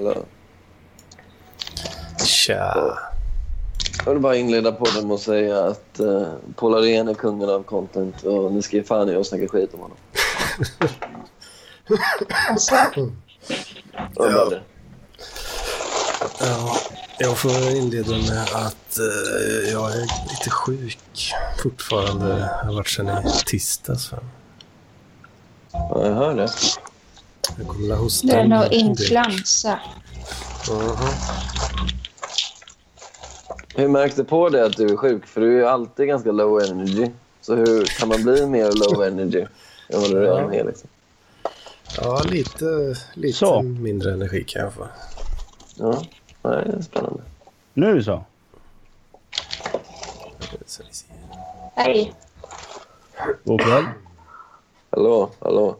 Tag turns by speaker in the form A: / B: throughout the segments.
A: Eller?
B: Tja.
A: Jag vill bara inleda podden med att säga att uh, Paul Arén är kungen av content och ni ska ge fan i att snacka skit om honom. Och
B: Ja.
A: bara det.
B: Ja, jag får inleda med att eh, jag är lite sjuk fortfarande. Jag har varit sedan i tisdags. va?
A: Ja, jag hör det.
B: Jag kommer att hosta.
C: Det är
B: en
C: nog
B: del.
C: influensa.
B: Mhm.
A: Hur märkte på det att du är sjuk? För du är ju alltid ganska low energy. Så hur kan man bli mer low energy än vad du redan är? Liksom?
B: Ja, lite, lite
D: Så.
B: mindre energi kan jag få.
A: Ja, Nej, det är spännande.
D: Nu så.
B: Så vi ser.
C: Hej.
D: God kväll.
A: Hallå, hallå.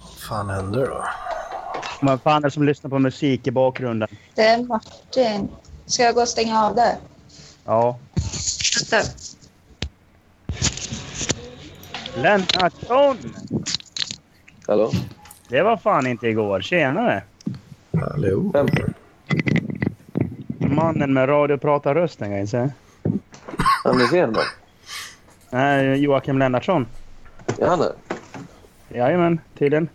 B: Vad fan händer då?
D: Men fan är det som lyssnar på musik i bakgrunden?
C: Det är Martin. Ska jag gå och stänga av det?
D: Ja.
C: Vänta.
D: Lennartsson!
A: Hallå?
D: Det var fan inte igår. Tjenare!
B: Hallå?
A: Vem?
D: Mannen med radiopratarrösten kan jag säga.
A: Anders Edman?
D: Nej, Joakim Lennartsson.
A: Är han här?
D: Jajamän, tydligen.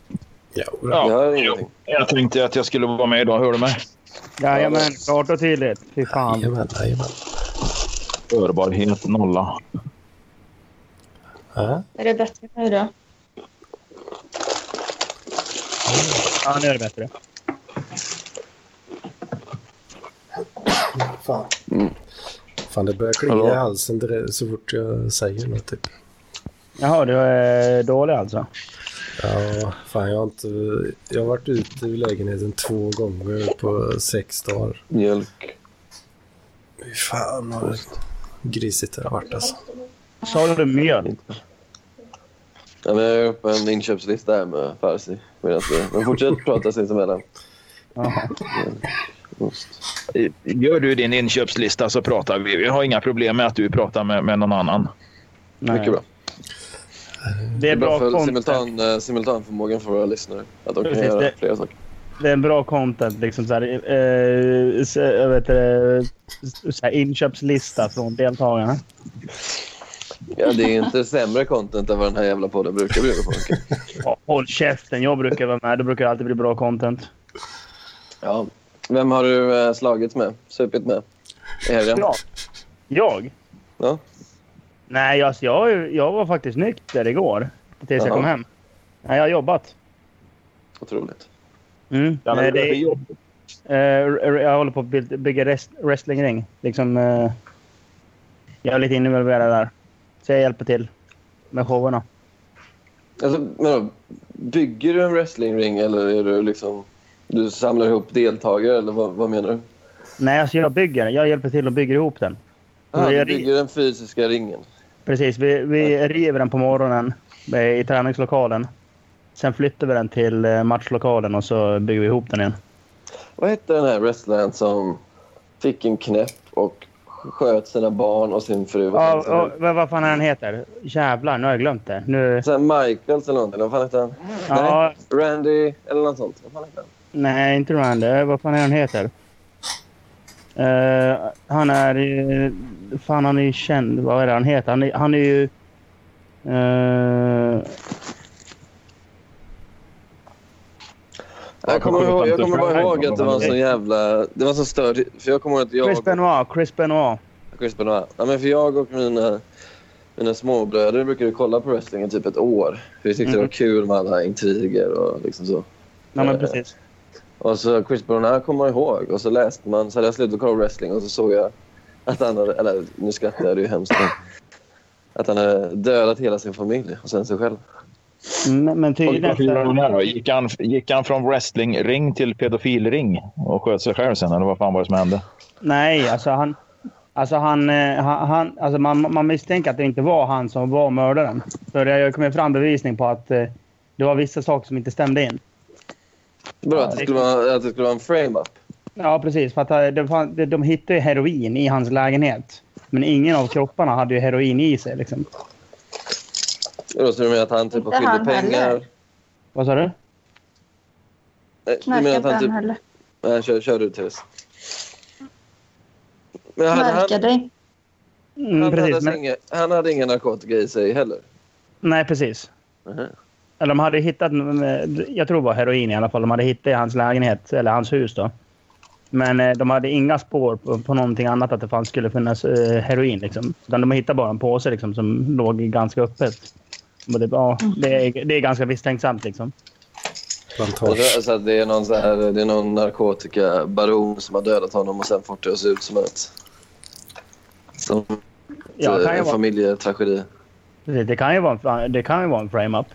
B: Ja, då.
A: Jag
E: Ja,
A: hör ingenting.
E: jag tänkte att jag skulle vara med idag. Hör du mig?
D: Jajamän, klart och tydligt. Fy fan.
B: Jajamän, jajamän.
E: Hörbarhet nolla.
B: Ja,
C: Är det bättre nu då?
D: Ja, nu är det bättre.
B: fan. Fan, det börjar klia
E: Hallå?
B: i halsen direkt så fort jag säger något. Typ.
D: Jaha, du är dålig alltså?
B: Ja, fan jag har inte... Jag har varit ute ur lägenheten två gånger på sex dagar.
A: Mjölk.
B: Fy fan vad grisigt det har varit alltså.
D: Sa du mjöl?
A: Ja, men jag har gjort upp en inköpslista här med Farsi. medan vi- Men fortsätt prata sinsemellan.
D: Jaha.
A: Ost.
E: Gör du din inköpslista så pratar vi. Vi har inga problem med att du pratar med, med någon annan.
D: Nej.
A: Mycket bra.
D: Det är bra
A: för
D: content.
A: simultan, eh, simultanförmågan för våra lyssnare. Att de kan
D: Precis,
A: göra
D: det-
A: flera saker.
D: Det är en bra content. Liksom så här, eh, så, jag vet, det, så här, inköpslista från deltagarna.
A: Ja, det är inte sämre content än vad den här jävla podden brukar bjuda på. okej?
D: Ja, håll käften. Jag brukar vara med. Det brukar alltid bli bra content.
A: Ja. Vem har du eh, slagits med? Supit med? I helgen?
D: Ja. Jag?
A: Ja.
D: Nej, alltså, jag, har ju- jag var faktiskt nykter igår. Tills jag
A: Jaha.
D: kom hem. Nej, jag har jobbat.
A: Otroligt.
D: Mm. Nej, det är,
E: jobb.
D: eh, r- jag håller på att by- bygga rest, wrestlingring. Liksom, eh, jag är lite involverad där. Så jag hjälper till med showerna.
A: Alltså, men då, bygger du en wrestlingring eller är du liksom... Du samlar ihop deltagare eller vad, vad menar du?
D: Nej, alltså jag bygger. Jag hjälper till och bygger ihop den.
A: Ah,
D: Det
A: du
D: är-
A: bygger den fysiska ringen.
D: Precis, vi, vi river den på morgonen eh, i träningslokalen. Sen flyttar vi den till eh, matchlokalen och så bygger vi ihop den igen.
A: Vad hette den här wrestlern som fick en knäpp och sköt sina barn och sin fru?
D: Ja, och, vad- vad fan är den heter? Jävlar, nu har jag glömt det. Nu,
A: Sen Michaels eller någonting. Vad fan hette han?
D: ja,
A: Randy eller något sånt. Vad fan hette han?
D: nej, inte Randy. Vad fan är den heter? Eh, han är ju... Fan, han är ju känd. Vad är det han heter? Han är, han är ju... eh,
A: Jag kommer, ihåg, jag kommer bara ihåg att det var en sån
D: Nej.
A: jävla... Det var en sån störd... För jag kommer ihåg att jag...
D: Chris Benoit. Chris Benoit.
A: Chris Benoit. Ja, men för jag och mina, mina småbröder brukade kolla på wrestling i typ ett år. För vi tyckte det
D: Mm.
A: var kul med alla intriger och liksom så.
D: Nej, men
A: Eh,
D: precis.
A: Och så Chris Benoit kommer jag ihåg. Och så läste man, så hade jag slutat kolla på wrestling och så såg jag att han hade, eller nu skrattar jag, det är ju hemskt. men Att han hade dödat hela sin familj och sen sig själv.
D: Men, men tydligen... efter-
E: Gick han, gick han från wrestlingring till pedofilring och sköt sig själv sen? Eller vad fan var det som hände?
D: Nej, alltså han... Alltså han, eh, han, han alltså man, man misstänker att det inte var han som var mördaren. För det har ju kommit fram bevisning på att eh, det var vissa saker som inte stämde in.
A: Bra, att, det skulle vara, att det skulle vara en frame-up.
D: Ja, precis. För att eh, det fan- de, de hittade ju heroin i hans lägenhet. Men ingen av kropparna hade ju heroin i sig. Liksom.
A: Och då Så du menar att han typ har skyldig
C: Inte
D: Mm,
C: han heller.
A: pengar?
D: Vad sa du?
A: Nej, du menar att
C: Knarkar inte
A: han
C: han
A: typ...
C: heller.
A: Nej, kör, kör du Therese. Men hade han,
C: Knarkade inte.
D: Mm,
A: han,
D: precis,
A: hade
D: men,
A: inga, han hade ingen narkotika i sig heller.
D: nej, precis.
A: Mhm.
D: Eller de hade hittat, jag tror det var heroin i alla fall, de hade hittat i hans lägenhet, eller hans hus då. Men eh, de hade inga spår på, på någonting annat att det fanns, skulle finnas eh, heroin. Liksom. Utan de hittade bara en påse liksom, som låg ganska öppet. Och det, ja, det, är, det är ganska misstänksamt. Liksom.
B: Plantage.
A: Alltså, alltså att det, är någon så här, det är någon narkotikabaron som har dödat honom och sen fått det att se ut som ett... Som
D: Ja, det,
A: ett,
D: kan ju
A: en
D: vara,
A: familjetragedi.
D: precis, det, kan ju vara en, det kan ju vara en frame-up.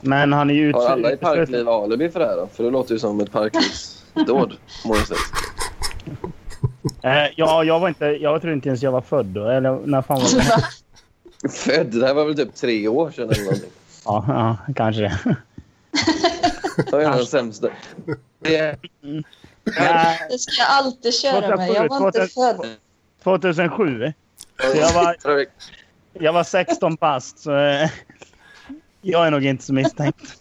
D: Men han är ju
A: Har alla i
D: utesluten-
A: Parkliv alibi för det här då? För det låter ju som ett parklivsdåd på något sätt.
D: Eh, ja, jag var inte... Jag tror inte ens jag var född då. Eller när fan var det?
A: Född? Det här var väl typ tre år sedan eller någonting.
D: Ja, ja kanske det.
A: Det var ju den sämsta. Det,
D: Nej,
C: Det ska jag alltid köra
D: Tvåtusen
C: med. Jag var
D: förut,
C: inte
D: tvåtusen-
C: född.
D: 2007. Så jag, var, jag var 16 bast, så... eh, Jag är nog inte så misstänkt.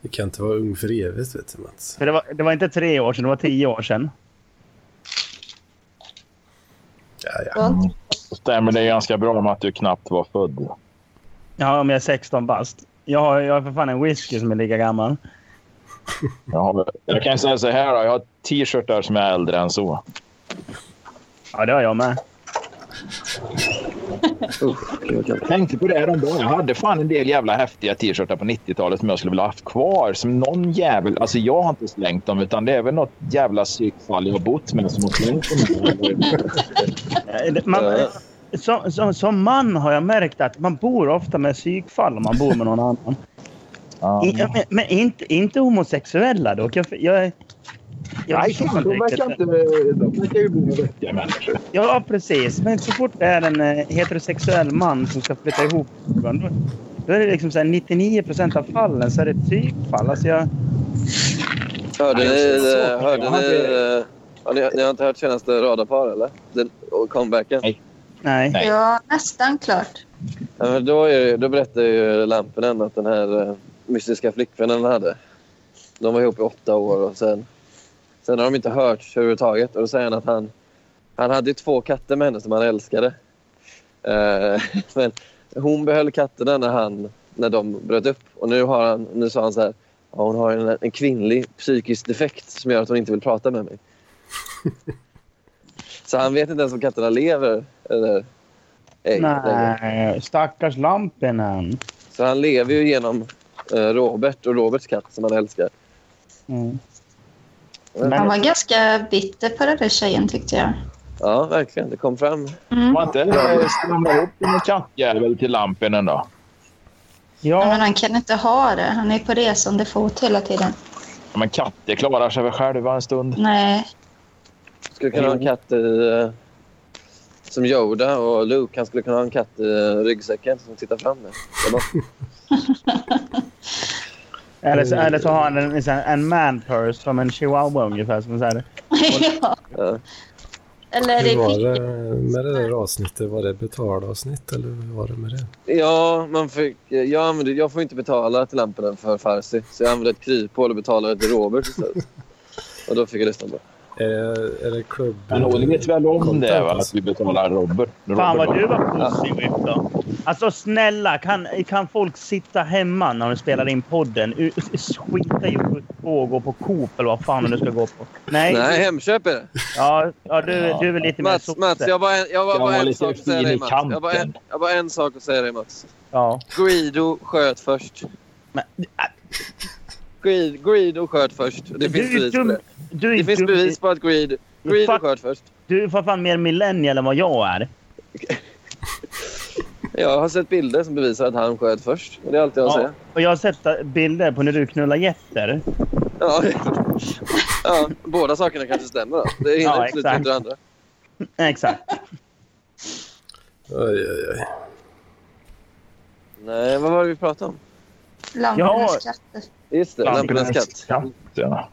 B: Du kan inte vara ung för evigt, vet du Mats.
D: För det, var, det var inte tre år sedan, det var tio år sedan.
B: Ja, ja.
C: Jag var inte-
E: Stämmer det ganska bra med att du knappt var född?
D: Ja, om jag är 16 bast. Jag har, jag har för fan en whisky som är lika gammal.
E: Jag, har, jag kan säga så här, då, jag har t-shirtar som är äldre än så.
D: Ja, det har jag med.
E: Jag tänkte på det här om dagen. Jag hade fan en del jävla häftiga t-shirtar på 90-talet som jag skulle vilja haft kvar. Som någon jävel... Alltså jag har inte slängt dem utan det är väl något jävla psykfall jag har bott med som har slängt dem.
D: Eh, det- Man,
A: Ja.
D: som, som, som man har jag märkt att man bor ofta med psykfall om man bor med någon annan.
E: Ja.
D: Ja, men men inte, inte homosexuella dock. Jag, jag, jag,
E: Nej,
D: förstår
E: fan, de
D: inte
E: verkar
D: riktigt.
E: inte... De verkar ju bo med vettiga människor.
D: Ja, precis. Men så fort det är en eh, heterosexuell man som ska flytta ihop då, då är det liksom så här 99 av fallen så är det ett psykfall. Alltså jag,
A: Hörde
E: Nej,
A: ni...
E: jag ser så.
A: eh, Hörde
E: Jag
A: ni,
E: hade-
A: eh, ja, ni, ni har inte hört senaste radarpar eller? Den, och comebacken?
E: Nej.
D: nej.
E: Nej.
C: Ja, nästan klart.
A: Ja, men då, är, det- då berättade ju Lampinen att den här eh, mystiska flickvännen han hade. De var ihop i åtta år och sen, sen har de inte hört överhuvudtaget. Och då säger han att han, han hade ju två katter med henne som han älskade. Eh, men hon behöll katterna när, han, när de bröt upp. Och nu, har han, nu sa han så här. Ja, hon har en, en kvinnlig psykisk defekt som gör att hon inte vill prata med mig. så han vet inte ens om katterna lever eller ej längre.
D: nej. Stackars Lampinen.
A: Så han lever ju genom eh, Robert och Roberts katt som han älskar.
D: Mm.
C: Han
D: Men,
C: var ganska bitter på den där tjejen tyckte jag.
A: Ja, verkligen. Det kom fram.
C: Mm.
E: Var inte det skramla ihop en kattjävel till lampen ändå?
C: Ja,
D: ja,
C: Men han kan inte ha det. Han är på resande fot hela tiden.
E: Ja, Men katter klarar sig väl själva en stund?
C: Nej.
A: Skulle kunna ha en katt i, eh, som Yoda och Luke. Han skulle kunna ha en katt i eh, ryggsäcken som tittar fram. Med.
D: eller, så, eller så har han en, en, sån här- en man purse som en chihuahua ungefär. Som så här,
C: ja.
A: Ja.
C: Eller är
B: Hur
C: det
B: var
C: skick...
B: det med det där avsnittet? Var det betalavsnitt eller hur var det med det?
A: Ja, man fick, eh, jag, använde, jag får inte betala till lamporna för Farsi. Så jag använde ett kryphål och betalade till Robert istället. och då fick jag lyssna på det.
B: Är det, är det klubb...
E: Men hon vet väl om
B: Content,
E: det va? Att
B: alltså.
E: vi betalar Robert.
D: Fan
E: Robert-
D: vad du var positiv då. Alltså snälla, kan, kan folk sitta hemma när de spelar in podden? U- Skita i att gå och gå på Coop eller vad fan du ska gå på. Nej,
A: Nej, Hemköp är det.
D: Ja, ja, du, du är väl lite mer
A: Mats,
D: sosse.
A: Mats jag har bara en, jag har
E: Jag
A: bara
E: var
A: en
E: lite
A: sak att säga
E: fin
A: dig,
E: i
A: Mats. Jag har bara en,
E: kanten.
A: jag har bara en sak att säga dig, Mats.
D: Ja.
A: Greedo sköt först.
D: Men, äh.
A: Greed, greed och sköt först. Det finns
D: du är
A: bevis på
D: dum.
A: det.
D: Du
A: Det
D: är
A: finns
D: dum.
A: bevis på att Greed, greed och
D: Fuck.
A: sköt först.
D: Du är för fan mer millennial än vad jag är.
A: Jag har sett bilder som bevisar att han sköt först. Och det är allt jag har att
D: Ja.
A: säga.
D: Och jag har sett eh, bilder på när du knullar getter.
A: Ja. Ja, båda sakerna kanske stämmer. Då. Det ena
D: Ja,
A: utesluter
D: exakt.
A: inte det andra.
D: Exakt.
B: Oj, oj, oj.
A: Nej, vad var det vi pratade om?
D: Ja.
C: Lampornas katter.
A: Just det, lampornas katt.
E: Ja.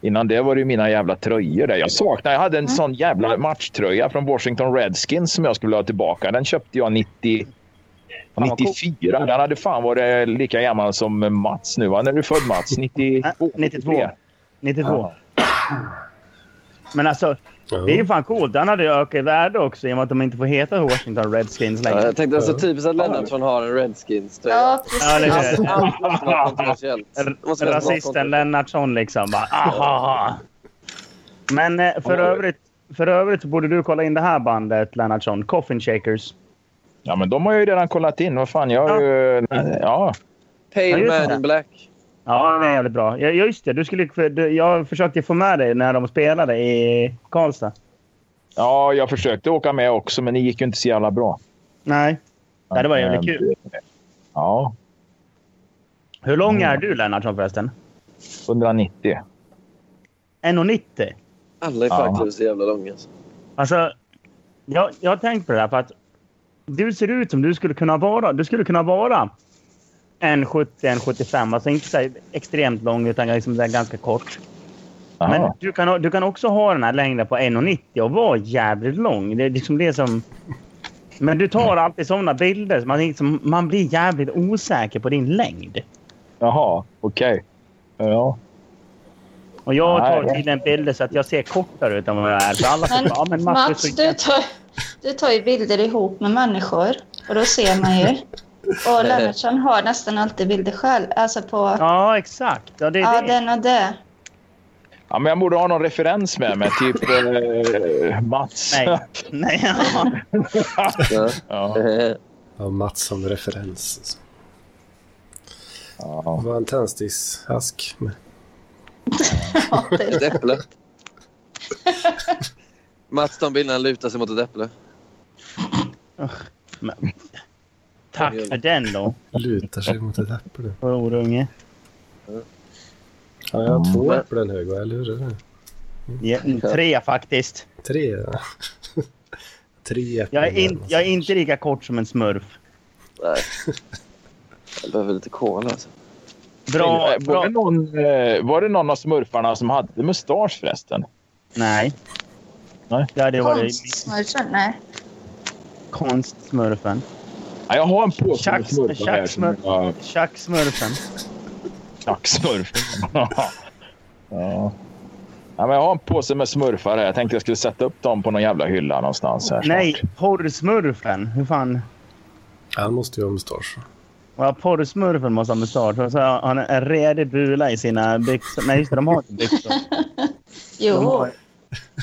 E: Innan det var det ju mina jävla tröjor där. Jag saknar, jag hade en
D: Mm.
E: sån jävla matchtröja från Washington Redskins som jag skulle ha tillbaka. Den köpte jag 95
D: Fan, vad
E: 94. Han hade fan varit lika gammal som Mats nu. va? När är du född Mats? 92?
D: Nej, 92. 92.
E: Ja.
D: Men alltså,
B: Ja.
D: det är ju fan coolt. Den hade ju ökat i värde också i och med att de inte får heta Washington Redskins
A: Ja,
D: längre.
A: jag tänkte alltså typiskt att Lennartsson har en Redskins-tröja.
C: Ja,
D: Ja, eller
C: precis.
D: hur?
A: Allt- allt måste vara kontroversiellt. Det måste vara
D: Rasisten
A: kontroversiellt.
D: Lennartsson liksom bara aha. Men eh, för
A: Ja.
D: övrigt, för övrigt så borde du kolla in det här bandet Lennartsson. Coffin Shakers.
E: Ja, men de har jag ju redan kollat in. Vad fan, jag har ju... Ja.
D: Ja,
A: Pale
D: just
A: Man
D: det.
A: in Black.
D: Ja, det är jävligt bra. Ja, just det. Du skulle, för- du, jag försökte få med dig när de spelade i Karlstad.
E: ja, jag försökte åka med också, men det gick ju inte så jävla bra.
D: Nej. Ja, det var jävligt
E: Men- eh,
D: kul.
E: Ja,
D: Hur lång
A: Mm.
D: är du Lennartsson förresten?
E: 190.
D: 1,90?
A: Alla i
E: Ja.
A: Farklöv är så jävla långa. Alltså.
D: Alltså, jag, jag har tänkt på det här för att du ser ut som du skulle kunna vara. Du skulle kunna vara en 70, en 75. Alltså inte så här extremt lång utan liksom så här ganska kort.
E: Jaha.
D: Men du kan, du kan också ha den här längden på 1,90 och vara jävligt lång. Det är liksom det som... Men du tar alltid sådana bilder. Så man, liksom, man blir jävligt osäker på din längd.
E: Jaha, okej. Ja.
D: Och jag
E: Nej.
D: tar tydligen bilder så att jag ser kortare ut än vad jag är. För alla säger ja, men
C: Men
D: Mats, du är
C: Mats,
D: så jävla
C: du tar, du tar ju bilder ihop med människor och då ser man ju. Och Lennartsson har nästan alltid bilder själv. Alltså på,
D: Ja, exakt. Ja, det är
C: ja
D: det.
C: den och det.
E: ja, men jag borde ha någon referens med mig. Typ eh, Mats.
D: Nej. Nej. Ja.
A: Ja.
E: Ja.
A: Eh,
B: Ja, Mats som referens. alltså.
E: Ja.
B: Det var en tändsticksask. med-
C: Ja, det.
A: Ett äpple. Mats de bilderna lutar sig mot ett äpple.
D: Tack för den då,
B: Lutar sig mot ett äpple.
D: för orunge.
B: Ja, jag har två
A: Mm.
B: äpplen hög, va? eller hur? är det?
D: Ja, tre faktiskt.
B: Tre. ja. Tre äpplen.
D: Jag är, in,
B: alltså.
D: jag är inte lika kort som en smurf.
A: Nej. Jag behöver lite cola. Alltså.
D: Bra,
E: Var,
D: bra.
E: det någon, eh, var det någon av smurfarna som hade mustasch förresten?
D: Nej.
E: Nej.
D: Ja, det var
C: Konstsmörjan, nej.
D: konstsmurfen.
E: Ja, jag har en påse med
D: Chuck-
E: smurfar här.
D: Chuck
E: som jag- Ja,
D: Chuck-smurfen.
E: Chuck-smurf. ja. ja, men jag har en påse med smurfar här. Jag tänkte jag skulle sätta upp dem på någon jävla hylla någonstans. Här snart.
D: Nej, porrsmurfen. Hur fan?
B: Han måste ju ha mustasch.
D: Ja, porrsmurfen måste ha mustasch. Och så har han en redig bula i sina byxor. Nej, just det. De har inte byxor. De
C: Jo,
D: har-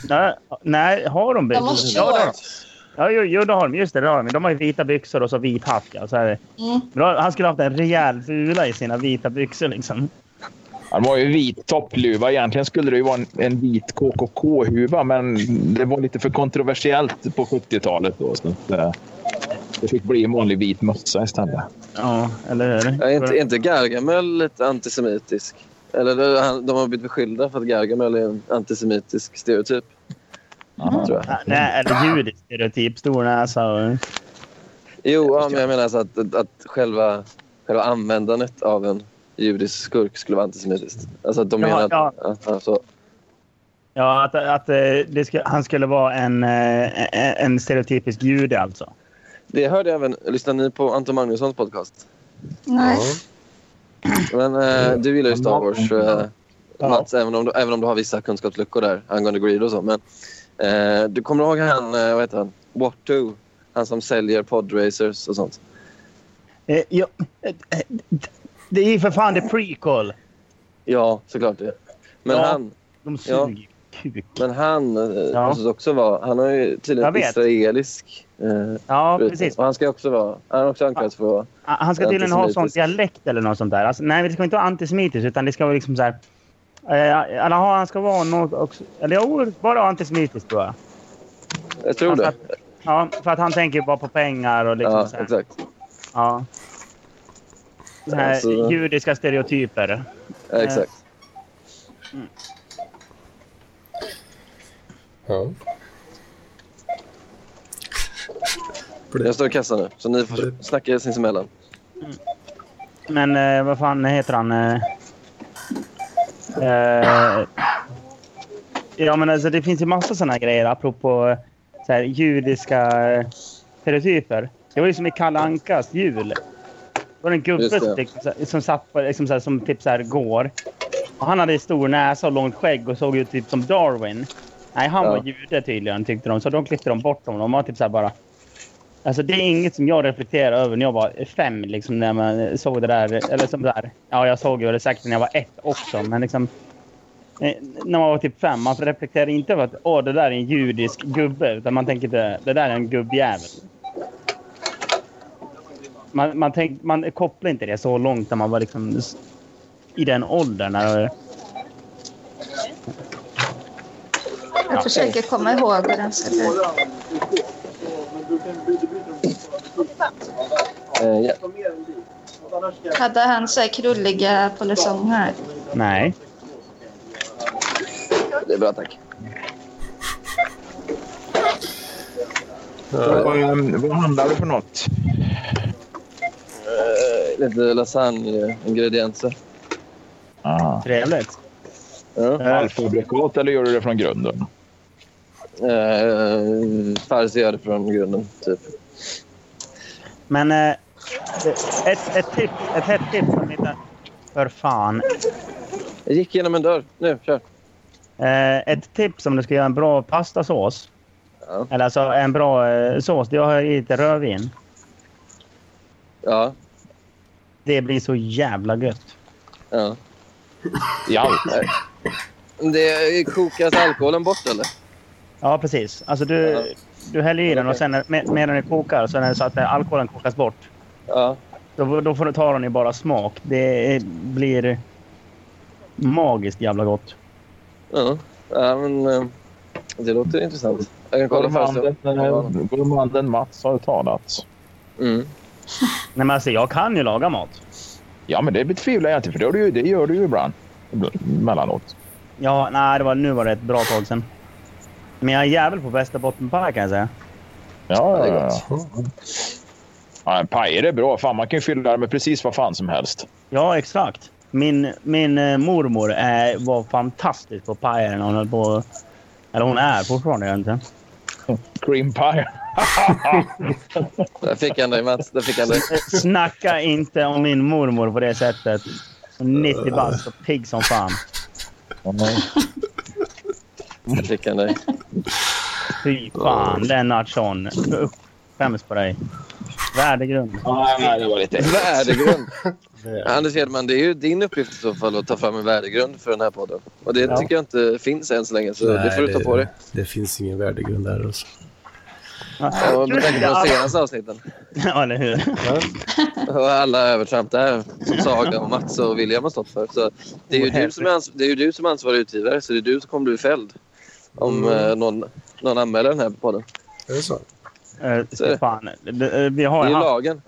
D: Nej, Nej, har de byxor?
C: de har
D: Ja, det har de.
C: shorts.
D: Ja, jo, jo, det har de. Just det, det har de. De har ju vita byxor och så vit hatt. Ja, så här.
C: Mm.
D: Men då- Han skulle haft en rejäl bula i sina vita byxor. Liksom.
E: Ja, de har ju vit toppluva. Egentligen skulle det ju vara en, en vit KKK-huva, men det var lite för kontroversiellt på 70-talet. Då, så att, eh, det fick bli en vanlig vit mössa istället.
D: Ja, eller hur?
A: Är inte, är inte Gargamel lite antisemitisk? Eller det- han- de har blivit beskyllda för att Gargamel är en antisemitisk stereotyp.
E: Ja.
A: Tror jag.
D: Mm. Nej, eller judisk stereotyp. Stor näsa och...
A: Jo, ja, men jag menar så att, att själva, själva användandet av en judisk skurk skulle vara antisemitiskt. Alltså att de
D: Ja,
A: menar att,
D: ja.
A: att alltså, han så...
D: Ja, att, att eh, det sku, han skulle vara en, eh, en- en stereotypisk jude alltså.
A: Det hörde jag även. Lyssnar ni på Anton Magnussons podcast?
C: Nej.
A: Men eh,
D: Mm.
A: du gillar ju Star Wars, eh,
D: Ja.
A: Mats, även om, du, även om du har vissa kunskapsluckor där angående Greed och så. Men eh, du kommer ihåg han, eh, vad heter han? Watto. Han som säljer podracers och sånt.
D: Eh, ja, eh, eh, det är ju för fan det prequel.
A: Ja, såklart det. Men
D: Ja.
A: han,
D: De suger kuk.
A: men han eh,
D: Ja.
A: måste också vara... Han har ju
D: Jag
A: tydligen
D: vet.
A: israelisk eh,
D: Ja,
A: brytning.
D: precis.
A: Och han ska också vara... Han har också anklagats för att vara...
D: Ah, Han ska tydligen ha sån
A: Antisemitisk.
D: dialekt eller något sånt där. Alltså, nej, det ska inte vara antisemitiskt utan det ska vara liksom så här... Eh, eller ha, han ska vara något också... Eller jo, bara antisemitiskt tror jag.
A: Jag tror
D: Alltså
A: det.
D: att- Ja, för att han tänker ju bara på pengar och liksom
A: Ja,
D: så här.
A: exakt.
D: Ja. Så här,
A: Alltså-
D: Judiska stereotyper.
A: Ja, exakt.
B: Ja.
A: Jag står i kassan nu, så ni får snacka sinsemellan.
D: Men eh, vad fan heter han? Eh, eh, ja, men alltså, det finns ju massa såna här grejer apropå eh, så här, judiska eh, stereotyper. Det var ju som i Kalle Ankas jul. Det var en gubbe
A: Just det.
D: som, liksom, så här- som satt på, liksom, så här, som typ så här går. Och han hade stor näsa och långt skägg och såg ut typ som Darwin. Nej, han
A: Ja.
D: var jude tydligen tyckte de. Så de klippte de bort honom. De var typ så här bara... Alltså det är inget som jag reflekterar över när jag var fem. Liksom, när man såg det där. Eller som där. Ja, jag såg ju det säkert när jag var ett också. Men liksom... Eh, när man var typ fem, man reflekterar inte över att åh, det där är en judisk gubbe. Utan man tänker det, det där är en gubbjävel. Man, man, tänk, man kopplar inte det så långt när man var liksom s- i den åldern. När,
C: Jag försöker komma ihåg hur den ser ut.
A: Eh, ja.
C: Hade han så här krulliga polisonger?
D: nej.
A: Det är bra, tack.
E: Vad- ehm, vad handlar det för något?
A: Eh, lite lasagne-ingredienser.
E: Ah.
D: Trevligt.
A: Ja.
D: Eh,
E: Halvfabrikat eller gör du det från grunden?
A: Eh, Farsi gör det från grunden, typ.
D: Men eh, ett, ett, tips, ett hett tips som inte... För fan.
A: Jag gick genom en dörr. Nu, kör.
D: Eh, ett tips om du ska göra en bra pastasås.
A: Ja.
D: Eller alltså en bra eh, sås. Det är att ha i lite rödvin.
A: Ja.
D: Det blir så jävla gött.
A: ja.
E: I allt?
A: Det kokas alkoholen bort, eller?
D: Ja, precis. Alltså
A: Ja.
D: du, du häller i den och
A: Okej.
D: sen när- med- medan den kokar så, är det så att eh, alkoholen kokas bort.
A: Ja.
D: Då, då får du ta den i bara smak. Det är, blir magiskt jävla gott.
A: Ja, ja men eh, det låter intressant. Jag kan kolla först.
E: Gourmanden- Gourmanden Mats har talat.
A: Mm.
D: Nej, men alltså, jag kan ju laga mat.
E: Ja, men det betvivlar jag inte, för det gör du ju, det gör du ju ibland. Mellanåt.
D: Ja, nej, det var, nu var det ett bra tag sedan. Men jag är jävel på Västerbottenpaj kan jag säga.
E: Ja,
A: Ja,
E: ja,
A: det är
E: ja.
A: gott.
E: ja en pajer är bra. Fan, man kan ju fylla det med precis vad fan som helst.
D: Ja, exakt. Min, min eh, mormor är, var fantastisk på pajer när hon höll på... Eller hon är fortfarande, jag vet inte.
E: Cream pie.
A: Där fick han dig, Mats. Där fick han dig.
D: Snacka inte om min mormor på det sättet. 90 bast och pigg som fan.
A: Där fick han dig.
D: Fy fan, Lennart Son. Usch, Skäms på dig. Värdegrund.
E: Ja, nej, det var lite...
A: Värdegrund. Anders Hedman, det är ju din uppgift i så fall att ta fram en värdegrund för den här podden. Och det
D: Ja.
A: tycker jag inte finns än så länge, så det
B: Nej,
A: får du ta på dig.
B: Det finns ingen värdegrund där. Alltså.
A: Och med tanke på de senaste avsnitten
D: Ja, eller hur?
A: och alla övertramp där som Saga och Mats och William har stått för. Så det, är ju du som är ans- det är ju du som är ansvarig utgivare, så det är du som kommer bli fälld om
B: Mm.
A: eh, någon, någon anmäler den här podden.
B: Är det så?
D: Eh, fy fan. Det- eh, Vi
A: Det
D: har
A: är ju
D: ju haft...
A: lagen.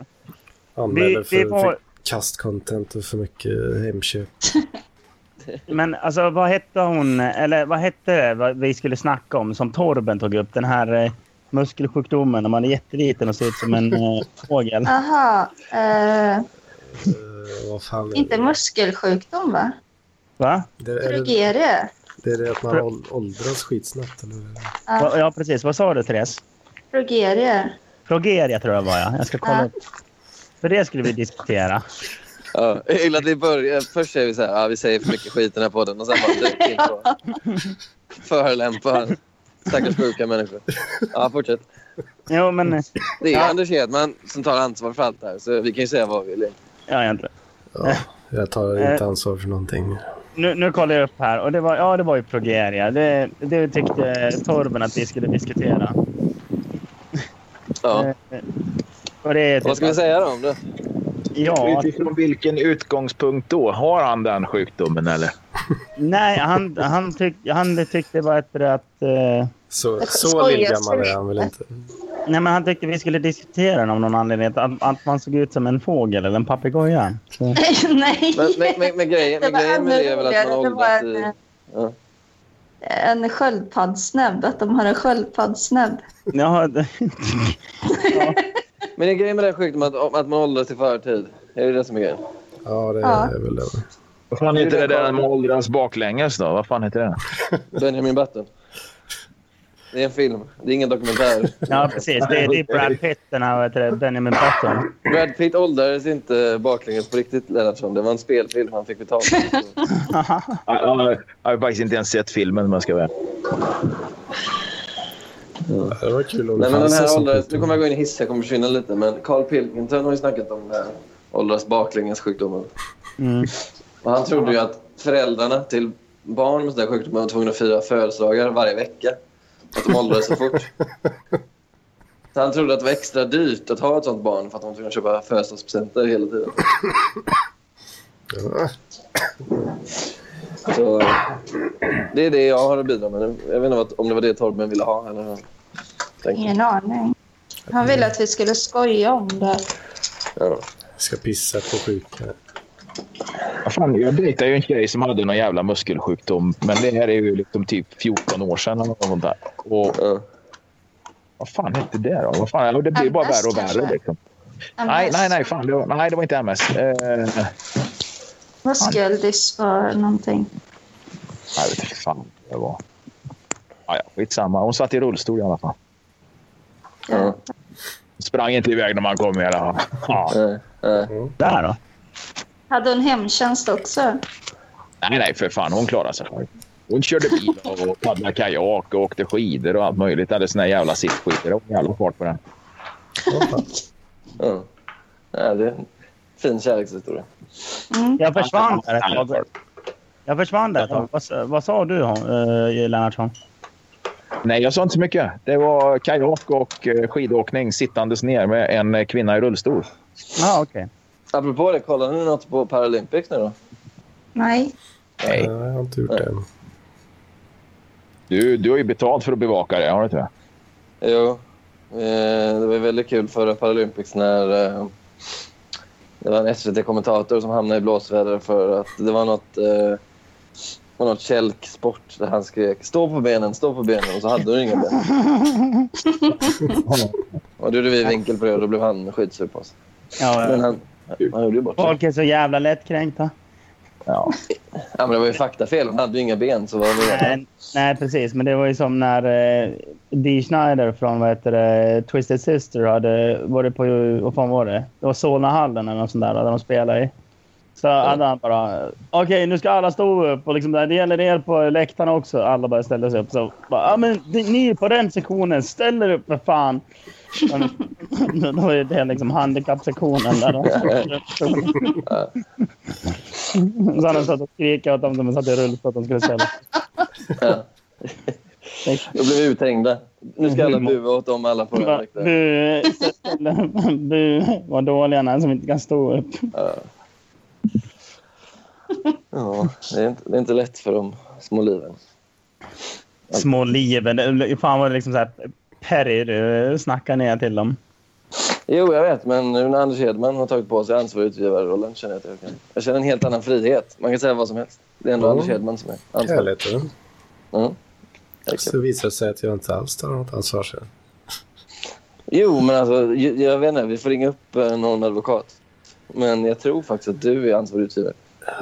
B: Anmäler
D: Vi-
B: för,
D: vi var-
B: för kastcontent och för mycket hemköp.
D: Men alltså, vad hette hon... Eller vad hette det vad vi skulle snacka om som Torben tog upp? Den här eh, muskelsjukdomen när man är jätteliten och ser ut som en eh, fågel.
C: Aha. Eh,
B: Eh, vad fan är
C: inte
B: det?
C: muskelsjukdom, va?
D: Va?
B: Det är, det,
C: Progeria?
B: det är det att man ål- åldras skitsnabbt? Eller? hur?
D: Va- Ja, precis. Vad sa du, Therese?
C: Progeria.
D: Progeria tror jag var, ja. Jag ska kolla
C: Ja.
D: upp. För det skulle vi diskutera.
A: Ja, jag gillar att vi börjar. Först säger vi så här, ah, vi säger för mycket skit i den här podden och sen bara direkt in på förolämpar stackars sjuka människor. Ja, fortsätt.
D: Jo, men... eh,
A: Det är
D: Ja.
A: Anders Hedman som tar ansvar för allt det här, så vi kan ju säga vad vi vill.
D: Ja, Eh. egentligen.
B: Ja, jag tar inte ansvar för någonting.
D: Nu, nu kollar jag upp här. Och det var, ja, det var ju progeria. Det, det tyckte Torben att vi skulle diskutera.
A: Ja.
D: Eh, Och det är typ
A: Vad ska vi säga då om det?
D: Ja,
E: Utifrån vilken utgångspunkt då? Har han den sjukdomen eller?
D: nej, han, han, tyck, han tyckte vad heter det, att... Eh,
B: Så,
C: Jag
B: så
C: skojar,
B: lillgammal
C: sorry.
B: är han väl inte?
D: nej, men han tyckte vi skulle diskutera den av någon anledning. Att, att man såg ut som en fågel eller en papegoja. Så-
C: Nej.
A: Men, men, men, men grejen,
C: Det
A: men
C: var
A: grejen med
C: ännu
A: det är väl att man
C: roligare. Det var
A: åldras
C: en, eh,
A: i... Ja.
C: en sköldpaddsnäbb. Att de har en sköldpaddsnäbb.
D: Ja, det-
A: Men det är grejen med den sjukdomen att, att man åldras i förtid. Är det det som är grejen?
B: Ja, det
C: Ja.
B: är väl det.
E: Vad fan heter det där med åldrans baklänges då? Vad fan heter det?
A: Benjamin Button. Det är en film. Det är ingen dokumentär.
D: Ja, precis. Det är, det är Brad Pitt, den här vad heter det, Benjamin Button.
A: Brad Pitt åldrades inte baklänges på riktigt, Lennartsson. Det var en spelfilm han fick betalt för.
E: Jag, jag, jag har faktiskt inte ens sett filmen om jag ska vara
B: Det var kul om det
A: Nej, men den
B: fanns en
A: här
B: sån
A: åldras, nu
B: sjukdom.
A: kommer jag gå in i hiss, jag kommer försvinna lite. Men Carl Pilkington har ju snackat om den här åldras baklänges sjukdomen.
D: Mm.
A: Och han trodde ju att föräldrarna till barn med sådana här sjukdomar var tvungna att fira födelsedagar varje vecka. Att de åldrades så fort. Så han trodde att det var extra dyrt att ha ett sånt barn för att de var tvungna att köpa födelsedagspresenter hela tiden.
B: Ja.
A: Så eh, det är det jag har att bidra med nu. Jag vet inte vad- om det var det Torben ville ha. Eller vad.
C: Ingen aning. Han ville att vi skulle skoja om det.
A: Ja.
B: Jag ska pissa på sjuka.
E: Fan, jag dejtade ju en tjej som hade någon jävla muskelsjukdom. Men det här är ju liksom typ 14 år sedan eller något sånt där. Och
A: Ja.
E: vad fan hette det då? Vad fan, och det blir bara värre och värre. Liksom. Nej, nej, nej, fan, det var, nej, det var inte MS. Eh,
C: Muskeldys för någonting.
E: jag vet inte fan vad det var. Ja, ja, skitsamma. Hon satt i rullstol i alla fall.
A: Ja.
E: Sprang inte iväg när man kom i alla fall. Ja.
A: Nej, nej.
D: Där då.
C: Hade hon hemtjänst också?
E: Nej, nej, för fan. Hon klarade sig själv. Hon körde bil och paddlade kajak och åkte skidor och allt möjligt. Hade såna här jävla sittskidor. Det var en jävla fart på den.
A: Ja. Nej, det är en fin kärlekshistoria.
C: Mm.
D: Jag försvann där ett tag. Jag försvann där ett tag. Vad, sa- vad sa du, eh, Lennartsson?
E: Nej, jag sa inte så mycket. Det var kajak och eh, skidåkning sittandes ner med en eh, kvinna i rullstol.
D: Ja, ah, okej.
A: Apropå det, kollar ni något på Paralympics nu då?
C: Nej.
B: Nej,
E: Nej.
B: jag har inte gjort det än.
E: Du, du har ju betalt för att bevaka det, har du inte det?
A: Jo. Eh, Det var väldigt kul förra Paralympics när eh, det var en SVT-kommentator som hamnade i blåsväder för att det var något, eh, det var något kälksport där han skrek stå på benen, stå på benen och så hade hon inga ben. och då gjorde vi vinkel på det och då blev han skitsur på oss.
D: Ja,
A: Men
D: ja.
A: han, han gjorde ju bort sig.
D: Folk är så jävla lättkränkta.
E: Ja.
A: ja, men Det var ju faktafel, han hade ju inga ben. Så vad menar han?
D: Nej, nej, precis. Men det var ju som när eh, Dee Schneider från vad heter det, Twisted Sister hade varit på... Vad fan var det? Det var Solnahallen eller något sånt där, där de spelade i. Så hade han bara... Okej, nu ska alla stå upp. Och liksom, det gäller er på läktarna också. Alla bara ställde sig upp. Så bara, ja, men ni- ni på den sektionen, ställ er upp för fan. Men, då var ju det liksom handikappsektionen. Där de så hade de satt och skrikit åt dem som satt i rullstol att de skulle ställa sig.
A: Ja. Då blev vi uthängda. Nu ska alla bua åt dem alla på den
D: Va,
A: läktaren.
D: Bu, bu, vad dåliga han är som inte kan stå upp.
A: Ja. Ja, det är, inte, det är inte lätt för de små liven.
D: Små liven. Det- Fan vad det liksom så här Perry du snackar ner till dem.
A: Jo, jag vet, men nu när Anders Hedman har tagit på sig ansvarig utgivarrollen känner jag att jag kan... Jag känner en helt annan frihet. Man kan säga vad som helst. Det är ändå
B: Mm.
A: Anders Hedman som är ansvarig.
B: Härligt. va?
A: Alltså. Mm. Tack.
B: Så visar det sig att jag inte alls tar något ansvar sen.
A: Jo, men alltså, jag, jag vet inte. Vi får ringa upp eh, någon advokat. Men jag tror faktiskt att du är ansvarig utgivare.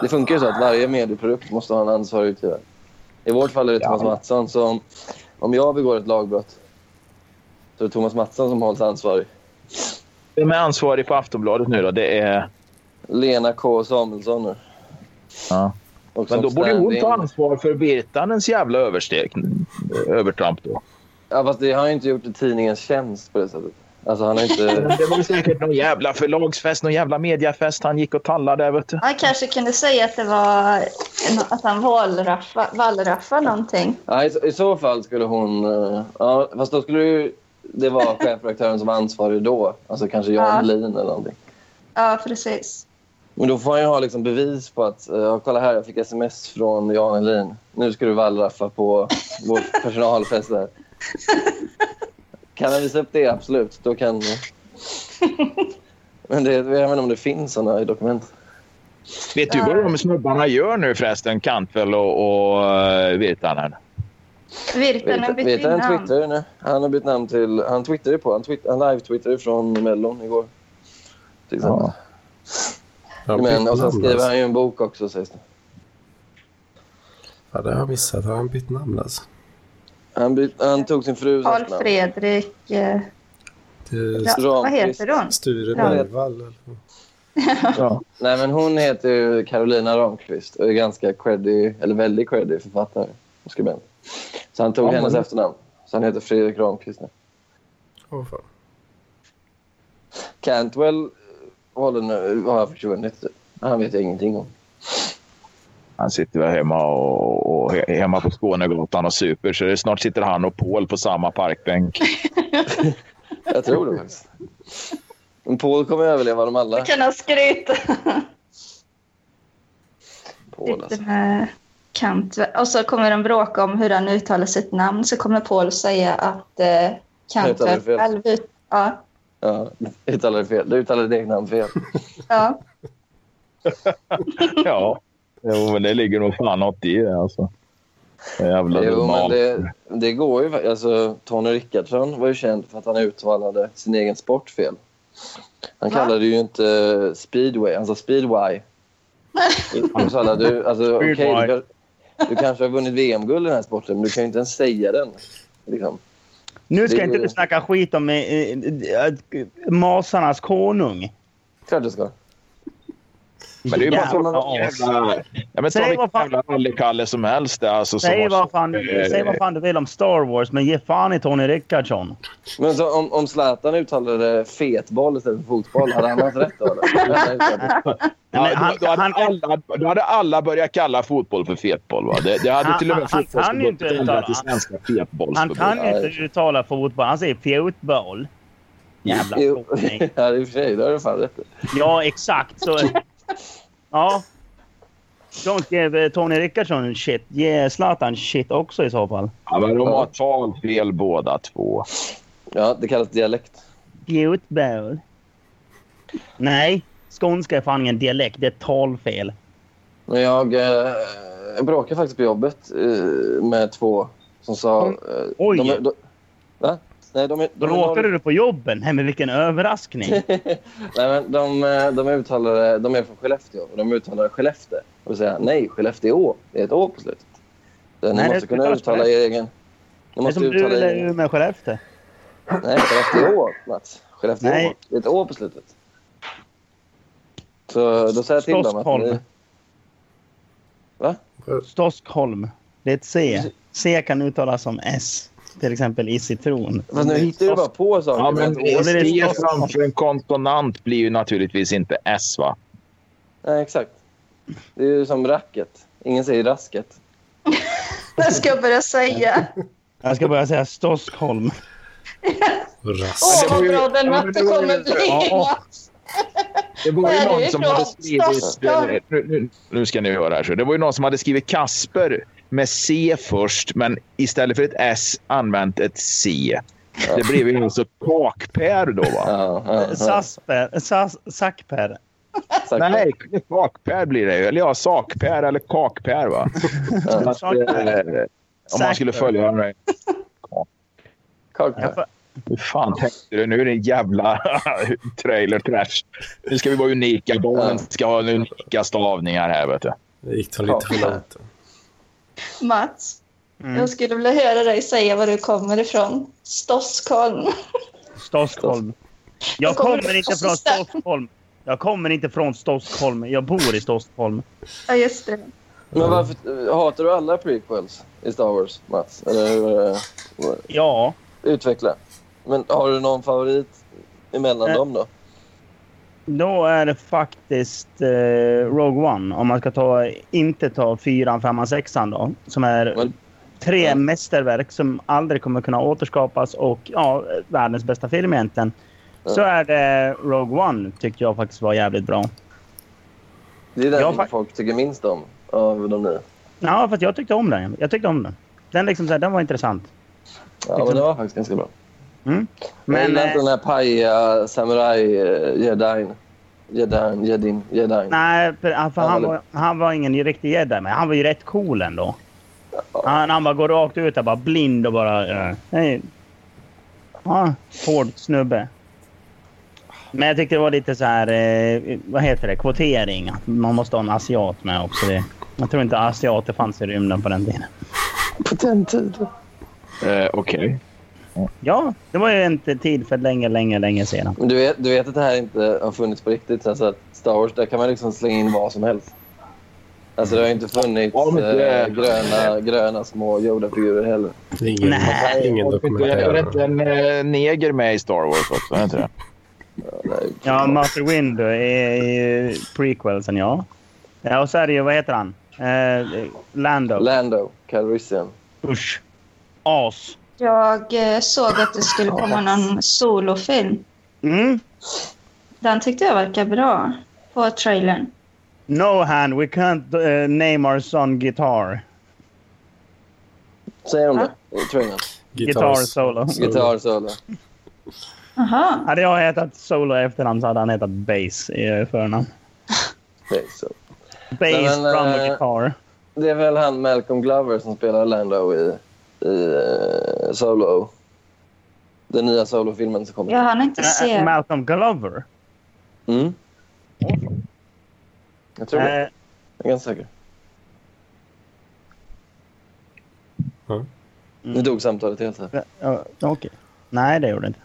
A: Det funkar ju så att varje medieprodukt måste ha en ansvarig utgivare. I vårt fall är det Thomas Mattsson. Så om, om jag begår ett lagbrott så är det Thomas Mattsson som hålls ansvarig.
E: Vem är ansvarig på Aftonbladet nu då? Det är...
A: Lena K Samuelsson nu.
E: Ja.
A: Och
E: Men
A: som
E: då borde hon
A: stand-in-
E: ta ansvar för Virtanens jävla översteg. Övertramp då.
A: Ja, fast det har ju inte gjort i tidningens tjänst på det sättet. Alltså han har inte...
E: Det var säkert någon jävla förlagsfest, någon jävla mediafest han gick och tallade där, vet du.
C: Han kanske kunde säga att det var att han valraffa- wallraffade någonting.
A: Ja, i, så- I så fall skulle hon... eh, Ja, fast då skulle ju det vara chefredaktören som var ansvarig då. Alltså kanske Jan
C: Ja.
A: Helin eller någonting.
C: Ja, precis.
A: Men då får han ju ha liksom bevis på att eh, ja, kolla här, jag fick sms från Jan Helin. Nu ska du wallraffa på vår personalfest där. Kan han visa upp det? Absolut. Då kan... Men det, jag vet inte om det finns såna i dokument.
E: Vet du vad de snubbarna gör nu förresten, Kantfel och, och eh, Virtanen?
C: Virtanen bytte
A: Vet
C: ju
A: han
C: namn.
A: twittrar ju nu. Han har bytt namn till... Han twittrar ju på. Han, twitt, han live-twittrade ju från Mellon igår. Till exempel.
B: Jag har
A: Men,
B: bytt
A: och sen
B: namn,
A: skriver
B: alltså.
A: han ju en bok också sägs det.
B: Ja, det har jag missat. Har han bytt namn alltså?
A: Ja, Han, by- han tog sin frus
C: Karl
A: efternamn.
C: Fredrik... Eh,
B: Det är
C: ja, vad
A: Ramqvist.
C: heter hon?
B: Sture
C: Ja.
B: Bergvall. eller?
A: Nej, men hon heter ju Carolina Ramqvist och är ganska creddy, eller väldigt creddy författare och skribent. Så han tog
E: Ja,
A: hennes
E: men-
A: efternamn. Så han heter Fredrik Ramqvist nu.
B: Åh, fan.
A: Cantwell eh, håller nu, har försvunnit. Han vet jag ingenting om.
E: Han sitter väl hemma, och, och, he- hemma på Skånegatan och super. Så det, snart sitter han och Paul på samma parkbänk.
A: Jag tror det faktiskt. Men Paul kommer överleva dem alla.
C: Jag kan ha skryta
A: Paul, alltså.
C: lite med Kant. Och så kommer de bråka om hur han uttalar sitt namn. Så kommer Paul säga att eh, Kant
A: uttalar det fel.
C: själv ut... Ja,
A: Ja, du uttalade fel. Du uttalade ditt eget namn fel.
C: ja.
E: Ja, jo, men det ligger nog fan något i det. Alltså. Jävla
A: Jo, men
E: normalt.
A: det, det går ju. fa- Alltså, Tony Rickardsson var ju känd för att han uttalade sin egen sport fel. Han
C: Va?
A: kallade ju inte speedway, han sa speedway. Han sa, du, alltså, okej,
D: Speedway.
A: du, kan- du kanske har vunnit VM-guld i den här sporten, men du kan ju inte ens säga den. Liksom.
D: Nu ska
A: Det-
D: inte du snacka skit om eh, eh, eh, masarnas konung.
A: Klart du ska.
E: Men det är ju bara
D: Jävla
E: sådana
D: as.
E: jävla... Ja, men ta
D: Säg
E: vilken
D: vad fan-
E: jävla rallykalle som helst. Alltså, som
D: Säg
E: har-
D: vad, fan,
E: eh,
D: säg vad fan du vill om Star Wars, men ge fan i Tony Rickardsson.
A: Men så, om, om Zlatan uttalade fetboll istället för fotboll, hade han haft rätt då? eller?
E: Ja,
D: Men han-
E: då, då, hade
D: han-
E: alla, då hade alla börjat kalla fotboll för fetboll. Va? Det, det hade
D: Han-
E: till och
D: han-
E: med
D: han kan ju
E: fotbollsförbundet
D: inte
E: ändrat till
D: uttala-
E: Svenska
D: Han
E: fetbollsförbundet.
D: kan ju inte uttala fotboll. Han säger fjotboll. Jävla
A: Jo,
D: fotning.
A: ja, i och för sig. Det har du fan rätt i.
D: Ja, exakt. Så, ja. Don't give eh, Tony Rickardsson shit. Ge Zlatan shit också i så fall.
E: Ja, men de har
A: Ja.
E: talfel båda två.
A: Ja, det kallas dialekt.
D: Fjotboll. Nej, skånska är fan ingen dialekt. Det är ett talfel.
A: Men jag, eh, jag bråkade faktiskt på jobbet eh, med två som sa... Eh,
D: Oj.
A: De, de, va? Nej, de, de, de,
D: Bråkade du på jobben? Nej, men vilken överraskning.
A: Nej, men de, eh, de, uttalade, de är från Skellefteå och de uttalar Skellefteå. Och säger nej, Skellefteå. Det är ett å på slutet. Så Ni
D: Nej, det
A: måste kunna
D: uttalas
A: uttala er
D: Skellefteå.
A: egen... Ni
D: det är
A: måste
D: som du
A: uttala
D: eller
A: er egen...
D: Umeå Skellefteå.
A: Nej, Skellefteå, Mats. Skellefteå.
D: Nej.
A: Det är ett å på slutet. Så då säger jag till dem att...
D: Stockholm.
A: Ni,
D: Stockholm. Det är ett C. C kan uttalas som S. Till exempel i citron.
A: fast nu hittar du bara på saker.
E: Ja,
A: med
E: men
A: ett å.
D: men det
E: C
D: är-
E: framför en konsonant blir ju naturligtvis inte S. va?
A: Nej, exakt. Det är ju som racket. Ingen säger rasket.
C: Det ska jag börja säga.
D: Jag ska börja säga Stockholm.
B: Och Rask.
C: Åh,
E: det var
C: vad
E: ju-
C: bra den
E: ja, men det
C: natten
E: var ju-
C: kommer bli!
D: Ja.
E: Det var
C: Nej,
E: ju
C: det
E: någon
C: är
E: som
C: klart.
E: hade skrivit...
C: Stockholm.
E: Nu, nu, nu ska ni höra. Här, så. Det var ju någon som hade skrivit Kasper med C först, men istället för ett S använt ett C. Det blev ju alltså kakpär då, va?
A: Ja, ja, ja.
D: Sasper. Sas, Sackper.
A: Exakt.
E: Nej, kakpär blir det ju. Eller ja, sakpär eller kakpär, va? Så att, eh, om man skulle följa den här...
A: Kakpär.
D: Jag, för,
E: Hur fan tänkte du? Nu är det en jävla trailer trash. Nu ska vi vara unika. Barnen ska ha unika stavningar här, vet du.
B: Det gick de lite för långt.
C: Mats,
D: mm.
C: jag skulle vilja höra dig säga var du kommer ifrån. Stockholm.
D: Stockholm. Jag kommer inte från Stockholm. Jag kommer inte från Stockholm. Jag bor i Stockholm.
C: Ja, just det.
A: Men varför hatar du alla prequels i Star Wars, Mats? Eller eh,
D: Ja.
A: utveckla. Men har du någon favorit emellan
D: Eh.
A: dem då?
D: Då är det faktiskt eh, Rogue One. Om man ska ta, inte ta fyran, femman, sexan då. Som är
A: Men-
D: tre
A: Ja.
D: mästerverk som aldrig kommer kunna återskapas och ja, världens bästa film egentligen. Så
A: Ja.
D: är det Rogue One tyckte jag faktiskt var jävligt bra.
A: Det är den
D: Jag
A: som
D: fa-
A: folk tycker minst om av de nya.
D: Ja, för att jag tyckte om den. Jag tyckte om den. Den, liksom, så här, den var intressant.
A: Ja, men det var faktiskt ganska bra. jag
D: Men,
A: gillar inte
D: eh,
A: den här eh, pajiga samuraj-jedin. Jedin, jedin, jedin.
D: nej, för, för
A: Ja,
D: han,
A: eller-
D: var, han var ingen riktig jedi, men han var ju rätt cool ändå. Han, han bara går rakt ut där, bara blind och bara... eh, Hej. Ja, hård snubbe. Men jag tyckte det var lite så här... Eh, vad heter det? Kvotering. Att Man måste ha en asiat med också. Det. Jag tror inte asiater fanns i rymden på den tiden.
A: På den tiden.
E: Eh, Okej.
D: Ja, det var ju inte tid för länge, länge, länge sedan.
A: Du vet, du vet att det här inte har funnits på riktigt. Alltså att Star Wars, där kan man liksom slänga in vad som helst. Alltså det har ju inte funnits
E: Ja, men det-
A: eh, gröna, gröna små Yoda-figurer heller.
B: Det är ingen,
D: Nej.
B: ingen
E: Var det
B: dokumentär.
E: inte en eh, neger med i Star Wars också? Är det inte det?
D: Ja, Master Windu är ju prequelsen, ja. Ja, och så är det ju, vad heter han? Eh, Lando.
A: Lando, Calrissian.
D: Usch. As.
C: Jag eh, såg att det skulle komma någon solofilm.
D: Mm.
C: Den tyckte jag verkar bra på trailern.
D: No hand, we can't eh, name our son guitar.
A: Säger de det? I trailern.
D: Guitar solo.
A: Gitarr solo.
C: Aha.
D: Hade jag hetat Solo i efternamn så hade han hetat Bass i eh, förnamn.
A: Det är, så.
D: Bass,
A: Men, eh,
D: drum och guitar.
A: det är väl han Malcolm Glover som spelar Lando i, i eh, Solo. Den nya Solo-filmen som
C: Jag
A: kommer.
C: hann inte
D: Eh,
C: se.
D: Malcolm Glover.
A: Mm. Jag tror det.
D: Eh,
A: Jag är ganska säker.
B: Mm.
A: Nu dog samtalet helt här.
D: ja, Okej. eh, Nej, det gjorde det inte.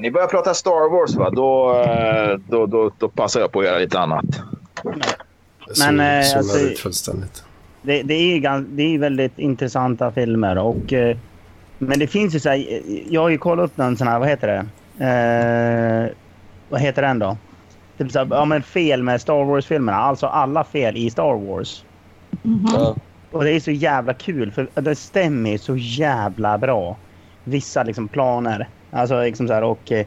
E: Ni börjar prata Star Wars, va? Då, eh, då, då, då passar jag på att göra lite annat.
D: Men, eh,
B: Men,
D: alltså-
B: ut fullständigt.
D: Det, det, är, ju gans- det är ju väldigt intressanta filmer. Och, eh, men det finns ju så här, eh, Jag har ju kollat upp någon sån här, vad heter det? Eh, vad heter den då? Typ så här, ja, men fel med Star Wars-filmerna. Alltså alla fel i Star Wars.
C: Mm.
A: Ja.
D: Och det är så jävla kul för det stämmer ju så jävla bra. Vissa liksom planer. Alltså liksom så här och eh,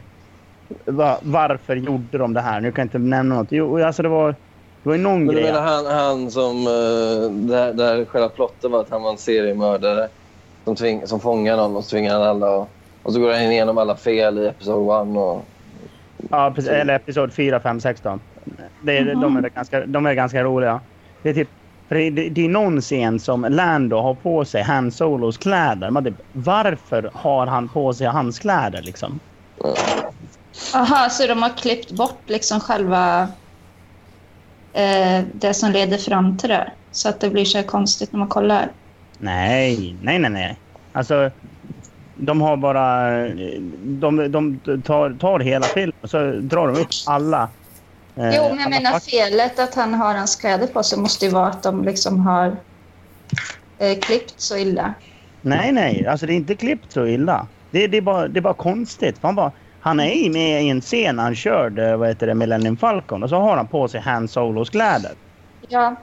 D: va, varför gjorde de det här? Nu kan jag inte nämna något. Jo, alltså det var, det var ju någon
A: Men du
D: grej.
A: menar han, han som... eh, Där, där själva plotten var att han var en seriemördare som, tving, som fångar någon och så tvingar han alla. Och, och så går han igenom alla fel i Episod 1. Och,
D: Ja, precis. Eller episod 4, 5, 16. Det är, de, är ganska, de är ganska roliga. Det är, typ, för det, det, det är någon scen som Lando har på sig Han Solos kläder. Man typ, varför har han på sig hans kläder? Liksom?
C: Aha, så de har klippt bort liksom själva eh, det som leder fram till det. Så att det blir så här konstigt när man kollar.
D: Nej, nej, nej, nej. Alltså, de har bara... De, de tar, tar hela filmen och så drar de upp alla.
C: Jo,
D: eh,
C: men jag
D: alla
C: menar
D: fack-
C: felet att han har hans kläder på sig måste ju vara att de liksom har eh, klippt så illa.
D: Nej, nej. Alltså det är inte klippt så illa. Det, det, är, bara, det är bara konstigt. Han, bara, han är ju med i en scen när han körde eh, vad heter det, Millennium Falcon och så har han på sig Han Solos kläder.
C: Ja,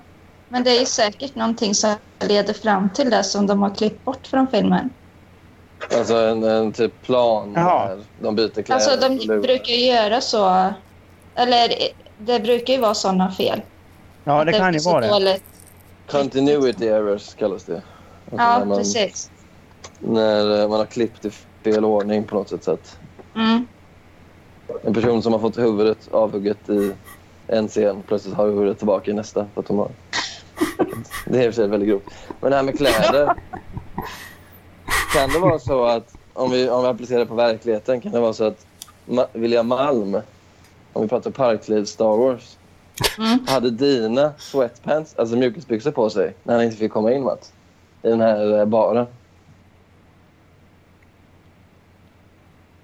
C: men det är ju säkert någonting som leder fram till det som de har klippt bort från filmen.
A: alltså en, en typ plan.
D: Jaha.
A: Där de byter kläder.
C: Alltså
A: och
C: de
A: lurar.
C: brukar ju göra så. Eller eh, det brukar ju vara sådana fel.
D: Ja, det kan ju
C: blir så
D: vara det.
C: dåligt.
A: Continuity errors kallas det. Alltså
C: Ja,
A: när man,
C: precis.
A: När eh, man har klippt i fel ordning på något sätt. Så att
C: Mm.
A: en person som har fått huvudet avhugget i en scen plötsligt har huvudet tillbaka i nästa. För att de har... Det är i och för sig väldigt grovt. Men det här med kläder. Kan det vara så att om vi, om vi applicerar det på verkligheten kan det vara så att Ma- William Malm, om vi pratar parkliv Star Wars,
C: Mm.
A: hade dina sweatpants, alltså mjukisbyxor på sig när han inte fick komma in Mats, i den här eh, baren.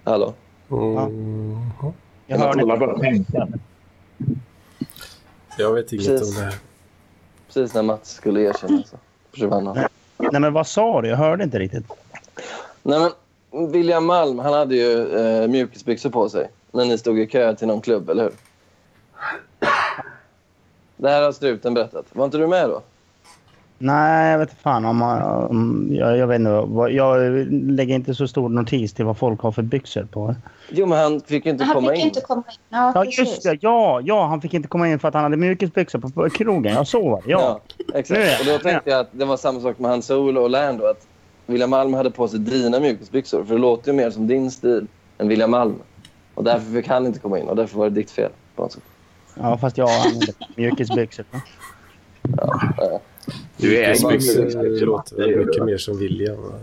A: Hallå?
B: Mm.
D: Jag hörde inte.
B: Jag vet inget
A: Precis.
B: om det här.
A: Precis när Mats skulle erkänna så försvann han.
D: Nej, men vad sa du? Jag hörde inte riktigt.
A: Nej, men William Malm han hade ju eh, mjukisbyxor på sig när ni stod i kö till någon klubb, eller hur? Det här har struten berättat. Var inte du med då?
D: Nej, jag vet inte fan om, man- om jag, jag vet inte. vad- Jag lägger inte så stor notis till vad folk har för byxor på.
A: Jo, men han fick ju inte
C: Han
A: komma
C: fick ju
A: in.
C: inte komma in. Ja,
D: Ja,
C: precis.
D: just det. Ja, ja, han fick inte komma in för att han hade mjukisbyxor på, på krogen. Jag såg det. Ja. Nu är jag-
A: exakt. Och då tänkte jag att det var samma sak med hans Solo och Lando. Att William Malm hade på sig dina mjukisbyxor. För det låter ju mer som din stil än William Malm. Och därför fick han inte komma in och därför var det ditt fel. På något sätt.
D: ja, fast jag använde mjukisbyxor.
E: Du är
B: Max eh, låter väl mycket
E: ju...
B: mer som William. va?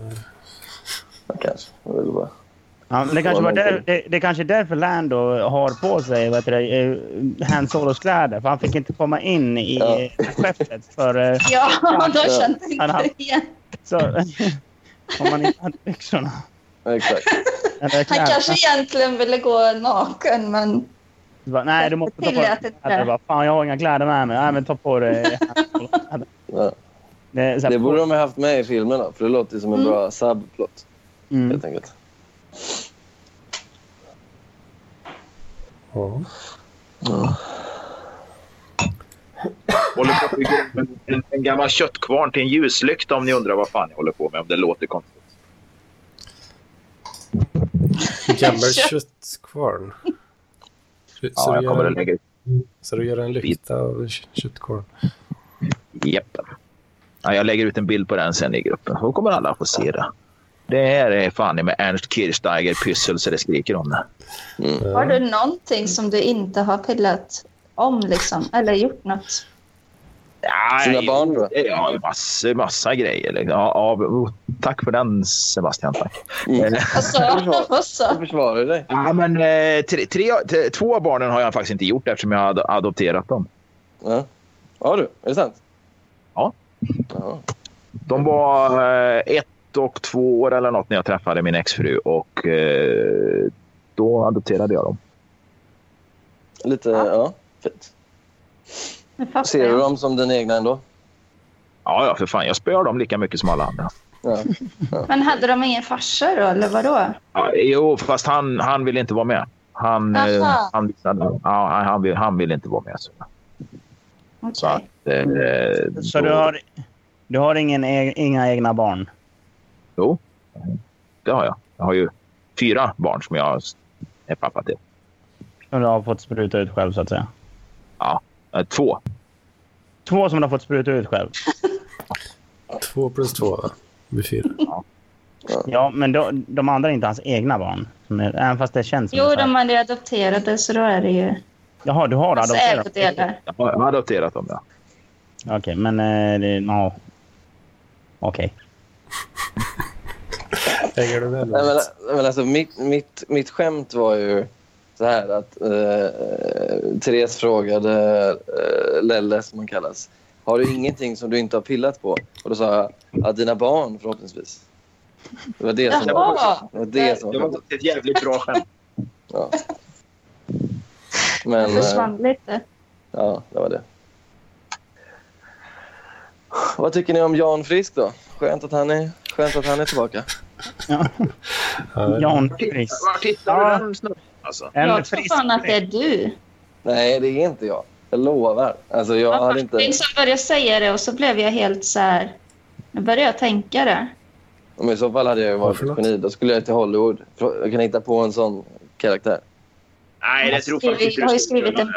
A: Ja, Kanske. Det var väl bara...
D: Ja, men det, kanske var där, det, det kanske är därför Lando har på sig vad heter det, eh, Han Solos kläder. För han fick inte komma in i
A: Ja.
D: eh, skeppet. För, eh,
C: Ja, då kände
D: Han
C: jag
D: hade-
C: inte igen.
D: så, Om man inte hade byxorna.
A: Exakt.
D: Eller
C: Han
D: kläderna.
C: kanske egentligen ville gå naken, men
D: Bara, Nej, du måste ta på
C: Tillät
D: dig
C: inte.
D: kläder. Bara, Fan, jag har inga kläder med mig. Nej, men ta på dig.
A: Ja.
D: Det, är så här-
A: Det borde de ha haft med i filmerna, för det låter ju som en
C: Mm.
A: bra subplot.
D: Mm.
A: Helt enkelt.
B: Ja.
E: Håller på att bygga upp en, en, en gammal köttkvarn till en ljuslykta om ni undrar vad fan jag håller på med. Om det låter konstigt.
B: Gammal
C: Kött.
B: köttkvarn. Så,
E: Ja,
B: du
E: jag kommer
B: gör
E: att
B: en,
E: lägga ut.
B: så du gör en lykta av kö- köttkvarn.
E: Japp. Ja, jag lägger ut en bild på den sen i gruppen. Då kommer alla få se det. Det här är fan i med Ernst Kirchsteiger pyssel så det skriker om det.
C: har du någonting som du inte har pillat om liksom? Eller gjort något?
E: Ja,
A: Sina barn då?
E: Ja, massa, massa grejer. liksom. Ja, ja, oh, tack för den Sebastian. Tack.
A: Mm.
C: Vad sa Alltså, Vad sa-
A: Jag försvarar dig.
E: Ja, men, eh, tre, tre, t- två av barnen har jag faktiskt inte gjort eftersom jag har ad- adopterat dem.
A: Ja. ja du, är det sant?
E: Ja.
A: Ja.
E: De var eh, ett och två år eller något när jag träffade min exfru och eh, då adopterade jag dem.
A: Lite, ja. Fint.
C: Nu fattar
A: Ser du
C: jag.
A: dem som dina egna ändå?
E: Ja, ja, för fan. Jag spöar dem lika mycket som alla andra.
A: Ja.
C: Men hade de ingen farsa då, eller vadå?
E: Ja, jo, fast han, han ville inte vara med. Han, eh,
C: Aha.
E: han, visade, ja, han, han, vill, han vill inte vara med. Så, så
C: Okej.
E: att, eh,
D: Så
E: då-
D: du har, du har ingen, e- inga egna barn?
E: Jo, det har jag. Jag har ju fyra barn som jag är pappa till.
D: Som du har fått spruta ut själv, så att säga?
E: Eh, Två.
D: Två som du har fått spruta ut själv?
B: Två plus två, va? Blir fyra.
D: Ja, men då, de andra är inte hans egna barn? Som är, även fast det känns som
C: Jo,
D: det.
C: de är ju adopterade, så då är det ju Alltså,
D: Jaha, du har
C: hans
D: adopterat?
C: ägodelar.
E: Jag har adopterat dem, ja.
D: Okej, men... Eh, det- ja. Okej.
B: Hänger du med?
A: Nej,
B: Mats?
A: men, men alltså, mitt, mitt, mitt skämt var ju så här att eh, Therese frågade eh, Lelle, som han kallas, har du ingenting som du inte har pillat på? Och då sa jag, ja, dina barn förhoppningsvis. Det var det som var
C: Jaha!
A: det var det som var skämtet.
E: ett jävligt bra skämt.
A: ja.
C: Det
A: Men eh,
C: försvann lite.
A: ja, det var det. Vad tycker ni om Jan Frisk då? Skönt att han är, skönt att han är tillbaka.
B: Ja.
D: Jan Frisk.
E: Var hittar
D: Ja.
E: du den snubben? Alltså.
D: En
C: Jag tror
D: frisk
C: fan att det är du.
A: Nej, det är inte jag. Jag lovar. Alltså, jag
C: Ja,
A: hade
C: hade
A: inte...
C: som började säga det och så blev jag helt så här... Nu började jag tänka det.
A: Om I så fall hade jag ju varit
B: Varför
A: ett
B: då?
A: geni. Då skulle jag till Hollywood. För Jag kan hitta på en sån karaktär.
E: Nej, det tror faktiskt
C: Jag har ju skrivit en...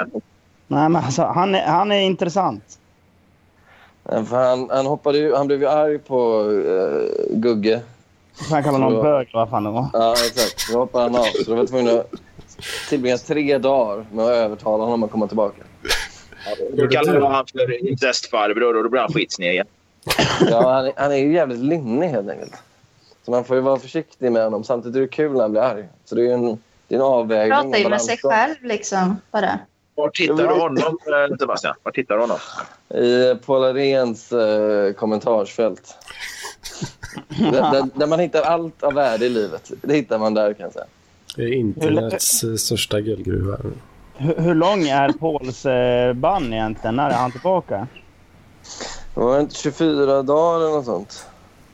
D: Nej, men alltså, han, är, han är intressant.
A: Eh, För han, han, hoppade ju, han blev ju arg på eh, Gugge.
D: Så han kallar någon
A: Så-
D: bög, vad fan det var.
A: Ja, exakt. Då hoppade han av. Så då var jag tvungen att tillbringa tre dagar med att övertala honom att komma tillbaka.
E: Då kallar du han för incestfarbror och då blir han skitsned
A: Ja, han, är- han är ju jävligt lynnig helt enkelt. Så man får ju vara försiktig med honom. Samtidigt är det kul när han blir arg. Så det är ju en, det är en avvägning.
C: Pratar ju med sig
A: balansgång.
C: själv liksom. Bara.
E: Var hittar du honom, eh, Sebastian? Var hittar du honom?
A: I Paul Arens eh, kommentarsfält. där, där, där man hittar allt av värde i livet. Det hittar man där kan jag säga.
B: Det är internets eh, största guldgruva.
D: Hur, hur lång är Pauls eh, ban egentligen? När är han tillbaka?
A: Det var inte 24 dagar eller något sånt.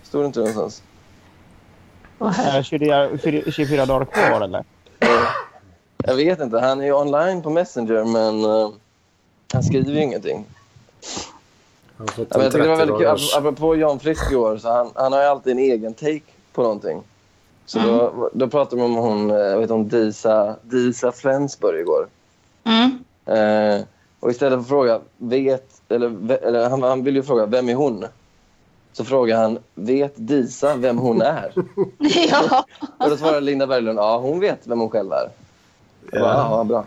A: Stod det inte någonstans?
C: Och
D: Är det 24, 24 dagar kvar eller?
A: Eh, Jag vet inte. Han är ju online på Messenger men eh, han skriver ju ingenting.
B: Han har fått
A: Ja, men
B: en
A: jag tyckte det var
B: 30
A: väldigt kul.
B: dagars...
A: Ap- Apropå Jan Frisk i år, så han, han har ju alltid en egen take på någonting. Så då, då pratade man om hon, eh, jag vet om Disa, Disa Flensburg igår.
C: Mm.
A: Eh, och istället för att fråga vet, eller, ve- eller han, han vill ju fråga vem är hon? Så frågar han vet Disa vem hon är?
C: Ja.
A: och då svarar Linda Berglund ja hon vet vem hon själv är. Jag bara, Ja, bra.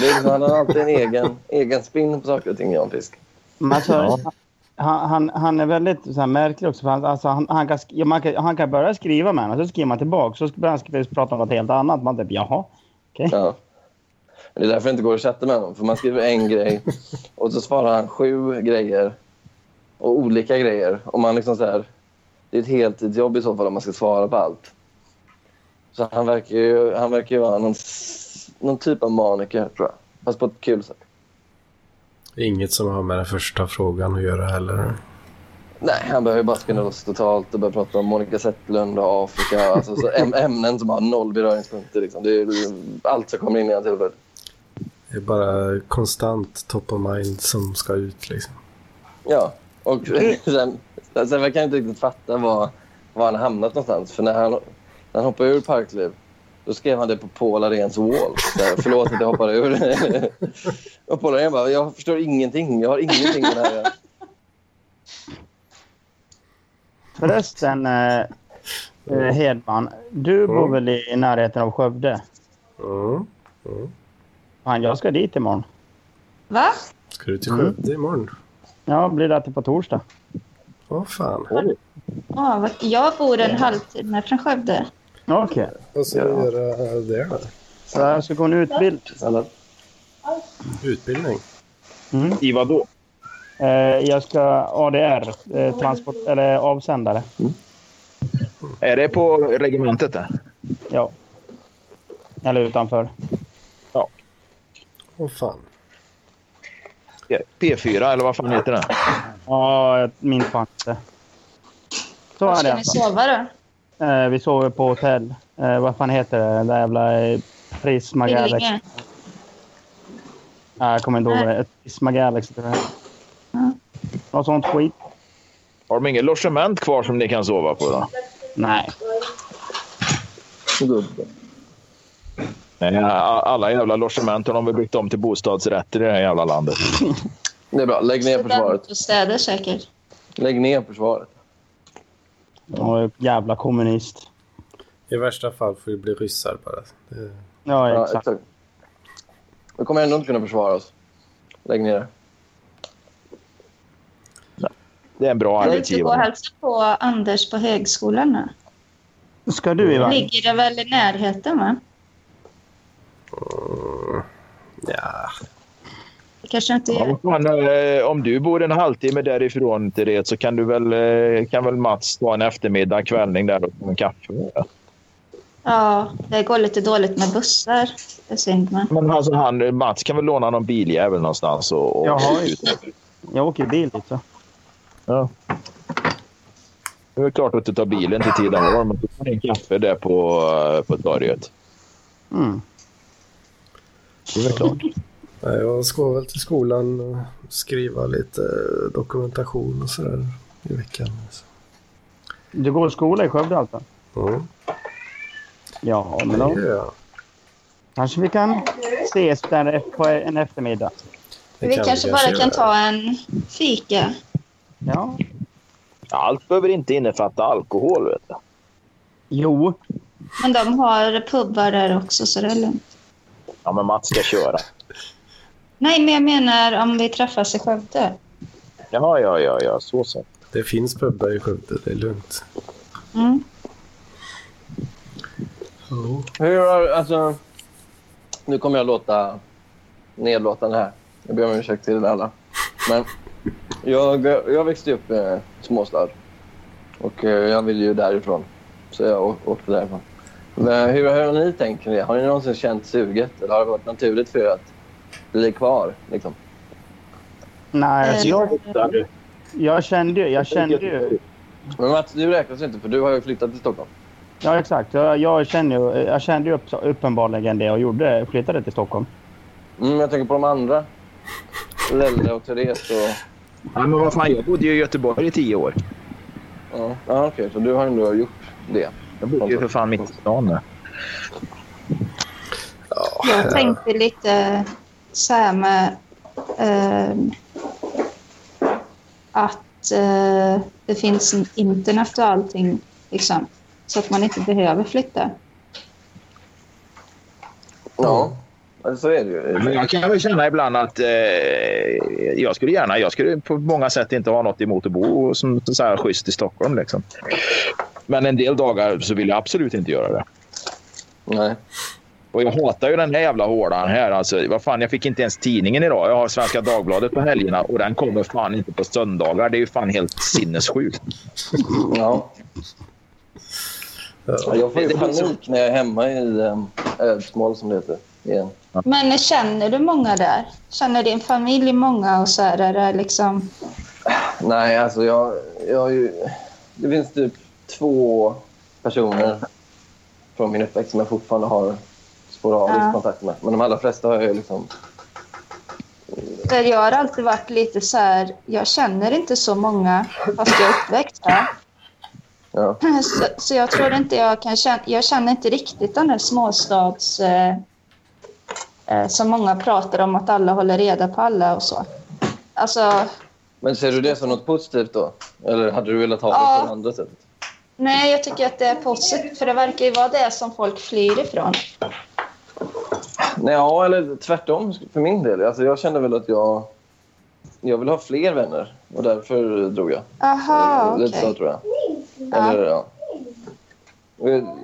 A: Det är, liksom- han har alltid en egen, egen spin på saker och ting, Jan Fisk.
D: Men alltså,
E: Ja.
D: han, han, han är väldigt så här, märklig också. För han, alltså, han, han, kan, sk- ja, man kan, han kan börja skriva med henne, så skriver man tillbaka. Så börjar han skriva, prata om något helt annat. Man typ jaha.
A: Ja. Men Det är därför det inte går att chatta med honom. För Man skriver en grej och så svarar han sju grejer och olika grejer. Och man liksom så här, det är ett heltidsjobb i så fall om man ska svara på allt. Så han verkar ju, han verkar ju vara någon, s- någon typ av maniker, tror jag. Fast på ett kul sätt.
B: Inget som har med den första frågan att göra heller.
A: Nej, han behöver ju bara spinna loss totalt och börja prata om Monica Zetterlund och Afrika. Alltså, så äm- ämnen som har noll beröringspunkter. Liksom. Det är ju allt som kommer in i hans huvud.
B: Det är bara konstant top of mind som ska ut liksom.
A: Ja, och sen, sen sen verkar jag inte riktigt fatta var, var han hamnat någonstans. För när han, när han hoppade ur Parkliv, då skrev han det på Paul Aréns wall. Så här, Förlåt att jag hoppade ur. och Paul Arén bara, jag förstår ingenting. Jag har ingenting med det här att göra."
D: Förresten, eh, eh, Hedman. Du bor väl i närheten av Skövde?
B: Mm.
D: Fan, jag ska dit imorgon.
C: Va?
B: Ska du till
A: Mm.
B: Skövde imorgon?
D: Ja, blir det till på torsdag.
B: Åh fan.
C: Ja, vad- jag bor en halvtimme från Skövde.
D: Okej.
B: Vad ska du göra där då?
D: Så jag ska gå en utbildning.
A: Alla-
B: Utbildning?
E: I vad då?
D: Eh, jag ska ADR, eh, transport, eller avsändare.
E: Är det på regementet? Där?
D: Ja. Eller utanför.
B: Åh fan.
E: P4 eller vad fan heter det?
D: Ja, jag minns fan inte. Så
C: Var
D: är det.
C: ska ni
D: Alltså.
C: sova då?
D: Eh, vi sover på hotell. Eh, vad fan heter det? Det där jävla eh, Prisma Galaxy.
C: Billinge?
D: Nej, jag kommer inte ihåg vad det är. Prisma Galaxy tror jag.
C: Mm.
D: Något sånt skit.
E: Har de inget logement kvar som ni kan sova på? Då?
D: Nej.
E: Nej, alla jävla logement har de väl byggt om till bostadsrätter i det här jävla landet.
A: Det är bra. Lägg ner försvaret.
C: Studentbostäder säkert.
A: Lägg ner försvaret.
D: Oh, jävla kommunist.
B: I värsta fall får vi bli ryssar bara. Det...
D: Ja,
A: Ja,
D: exakt.
A: exakt. Vi kommer ändå inte kunna försvara oss. Lägg ner det.
E: Det är en bra
C: Jag vill inte gå och
E: arbetsgivare.
C: hälsa på Anders på högskolan nu.
D: Ska du iväg?
C: Ligger det väl i närheten va?
B: Ja.
C: Det kanske inte
E: Ja,
C: gör.
E: vad fan, eh, om du bor en halvtimme därifrån till det så kan, du väl, eh, kan väl Mats ta en eftermiddag, kvällning där och ta en kaffe.
C: Ja, det går lite dåligt med bussar. Det är synd men.
E: Men alltså han, Mats kan väl låna någon biljävel någonstans och, och
D: Jaha, just Jag åker bil dit. Så.
E: Ja. Det är väl klart att du tar bilen till Tidaholm och tar en kaffe där på, eh, på torget.
D: Mm.
E: Det är väl klart.
B: Nej, Jag ska väl till skolan och skriva lite dokumentation och sådär i veckan. Så.
D: Du går i skola i Skövde alltså?
B: Mm.
D: Ja, men
B: Det
D: då
B: gör jag.
D: kanske vi kan ses där på en eftermiddag.
B: Det
C: Vi
B: kan
C: kanske bara kan
B: göra.
C: ta en fika.
D: Ja.
E: Allt behöver inte innefatta alkohol. Vet du.
D: Jo.
C: Men de har pubbar där också så det är lugnt.
E: Ja, men Mats ska köra.
C: Nej, men jag menar om vi träffas i Skövde.
E: Ja, ja, ja, ja. så så.
B: Det finns pubbar i Skövde, det är lugnt.
C: Mm.
A: Hur har, alltså... Nu kommer jag låta nedlåtande här. Jag ber om ursäkt till alla. Men jag, jag växte upp i eh, småstad. Och eh, jag ville ju därifrån. Så jag å- åkte därifrån. Men hur, hur har ni tänkt kring det? Har ni någonsin känt suget? Eller har det varit naturligt för er att bli kvar? Liksom?
D: Nej, alltså,
C: Eh,
D: jag, jag kände ju... Jag kände ju
A: Men Mats, du räknas ju inte för du har ju flyttat till Stockholm.
D: ja, exakt. Jag, jag kände ju, jag kände ju upp, uppenbarligen det och gjorde, flyttade till Stockholm.
A: Mm, jag tänker på de andra. Lelle och Therese och...
E: Ja, men vad fan, jag bodde ju i Göteborg i tio år.
A: Ja, ja okej. så du har ändå gjort det.
E: Jag bodde ju för fan mitt i stan. där.
C: Jag tänkte lite så här med ehm, att eh, det finns en internet och allting. Liksom, så att man inte behöver flytta.
A: Ja, alltså, så är det ju.
E: Men jag kan väl känna ibland att eh, jag skulle gärna, jag skulle på många sätt inte ha något emot att bo som så här schysst i Stockholm. Liksom. Men en del dagar så vill jag absolut inte göra det.
A: Nej.
E: Och jag hatar ju den här jävla hårdan här. Alltså, vad fan, jag fick inte ens tidningen idag. Jag har Svenska Dagbladet på helgerna och den kommer fan inte på söndagar. Det är ju fan helt sinnessjukt.
A: Ja. Ja, jag får ju panik när jag är hemma i um, Ödsmål, som det heter. Igen.
C: Men känner du många där? Känner din familj många och så här? Är det liksom...
A: Nej, alltså jag, jag har ju... Det finns typ två personer från min uppväxt som jag fortfarande har sporadisk
C: Ja.
A: kontakt med. Men de allra flesta har jag ju liksom...
C: För jag har alltid varit lite så här, jag känner inte så många fast jag är uppväxt här.
A: Ja.
C: Så, så jag tror inte jag kan känna, jag känner inte riktigt den där småstads... Eh, eh, som många pratar om att alla håller reda på alla och så. Alltså,
A: Men ser du det som något positivt då? Eller hade du velat ha det
C: Ja.
A: på det andra sättet?
C: nej jag tycker att det är positivt för det verkar ju vara det som folk flyr ifrån.
A: Nej, ja, eller tvärtom för min del. Alltså, jag kände väl att jag, jag vill ha fler vänner och därför drog jag. Eh,
C: Aha, Ah, okej.
A: Lite så tror jag.
C: Ja.
A: Eller, ja. Och Jag,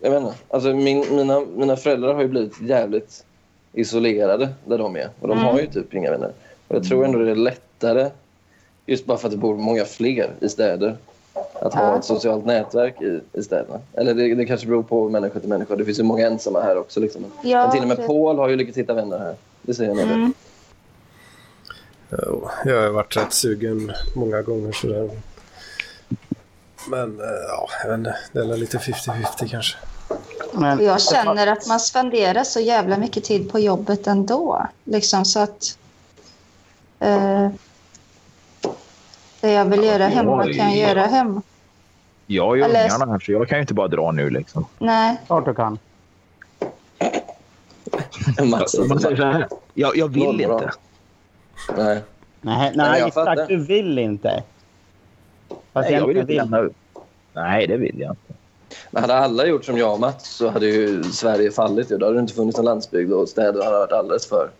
A: jag vet inte. Alltså, min, mina, mina föräldrar har ju blivit jävligt isolerade där de är. Och de
C: Mm.
A: har ju typ inga vänner. Och jag tror ändå det är lättare, just bara för att det bor många fler i städer, att ha
C: Ja.
A: ett socialt nätverk i, i städerna. Eller det, det kanske beror på människa till människa. Det finns ju många ensamma här också. Liksom.
C: Ja,
A: Men till och med
C: precis.
A: Paul har ju lyckats hitta vänner här. Det säger jag mm.
C: Mm.
B: Jo, Jag har ju varit rätt sugen många gånger sådär. Men eh, ja, jag vet inte. Det är väl lite 50-50 kanske.
D: Men,
C: Och jag känner att man spenderar så jävla mycket tid på jobbet ändå. Liksom så att... Eh, det jag vill göra hemma
E: Oj.
C: kan jag göra hemma.
E: Jag har ju
C: Eller-
E: ungarna här, så jag kan ju inte bara dra nu. Liksom.
C: Nej.
D: klart du kan.
C: Mm.
A: Mats.
E: Alltså, Man säger så här, jag, jag vill
A: Noll bra.
E: inte.
A: Nej.
D: Nej,
A: Nej,
D: nej
A: jag fattar.
D: Isak, du vill inte. Fast
E: Nej, jag vill
D: egentligen
E: inte lämna ut. Nej, det vill jag inte.
A: Men hade alla gjort som jag och Mats så hade ju Sverige fallit. ju. Då hade det inte funnits någon landsbygd och städer hade varit alldeles för.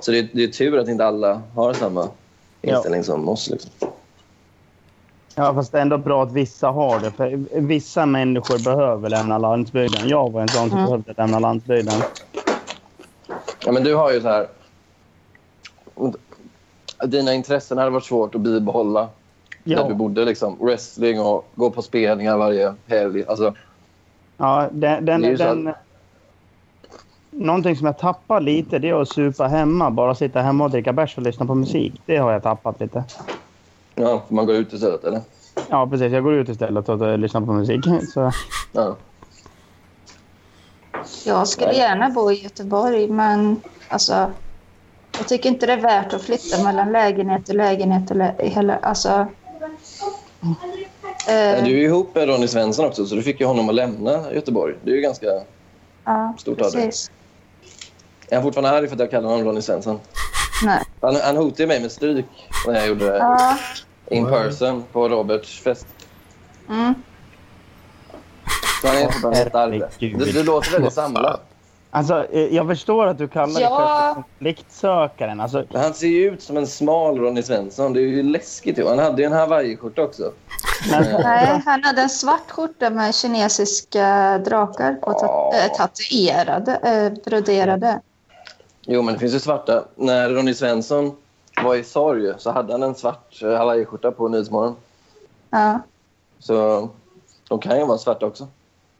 A: Så det är, det är tur att inte alla har samma
D: Ja.
A: inställning som oss. Liksom.
D: Ja, fast det är ändå bra att vissa har det. För vissa människor behöver lämna landsbygden. Jag var en sån som
C: Mm.
D: behövde lämna landsbygden.
A: Ja, men du har ju så här... Dina intressen hade varit svårt att bibehålla där du
D: Ja,
A: bodde. Liksom. Wrestling och gå på spelningar varje helg. Alltså,
D: ja den, den,
A: Det är ju så
D: den, Någonting som jag tappar lite det är att supa hemma. Bara sitta hemma och dricka bärs och lyssna på musik. Det har jag tappat lite.
A: ja, man går ut istället, eller?
D: Ja, precis. Jag går ut istället och eh, lyssnar på musik. Så,
A: Ja.
C: Jag skulle gärna bo i Göteborg, men alltså... Jag tycker inte det är värt att flytta mellan lägenhet och lägenhet. Och lä hela, alltså,
A: Men
C: eh,
A: Du är ju ihop med Ronny Svensson också, så du fick ju honom att lämna Göteborg. Det är ju ganska...
C: ja,
A: stort av dig.
C: precis.
A: Är han fortfarande arg för att jag kallar honom Ronny Svensson?
C: Nej.
A: Han, han hotade ju mig med stryk när jag gjorde
C: Ja,
A: in person på Roberts fest.
C: mm.
A: Så han är fortfarande jättearg.
D: herregud.
A: Du, du låter väldigt samlad.
D: alltså, eh, jag förstår att du kallar dig
C: Ja.
D: för konfliktsökaren. Alltså,
A: Men Han ser ju ut som en smal Ronny Svensson. Det är ju läskigt. ju. Han hade ju en hawaiiskjorta också.
D: men,
C: Nej, han hade en svart skjorta med kinesiska drakar på ta-
A: Ja.
C: eh, tatuerade, eh, broderade.
A: Jo, men det finns ju svarta. När Ronny Svensson var i sorg så hade han en svart eh, hawaiiskjorta på Nyhetsmorgon.
C: Ja.
A: Så de kan ju vara svarta också.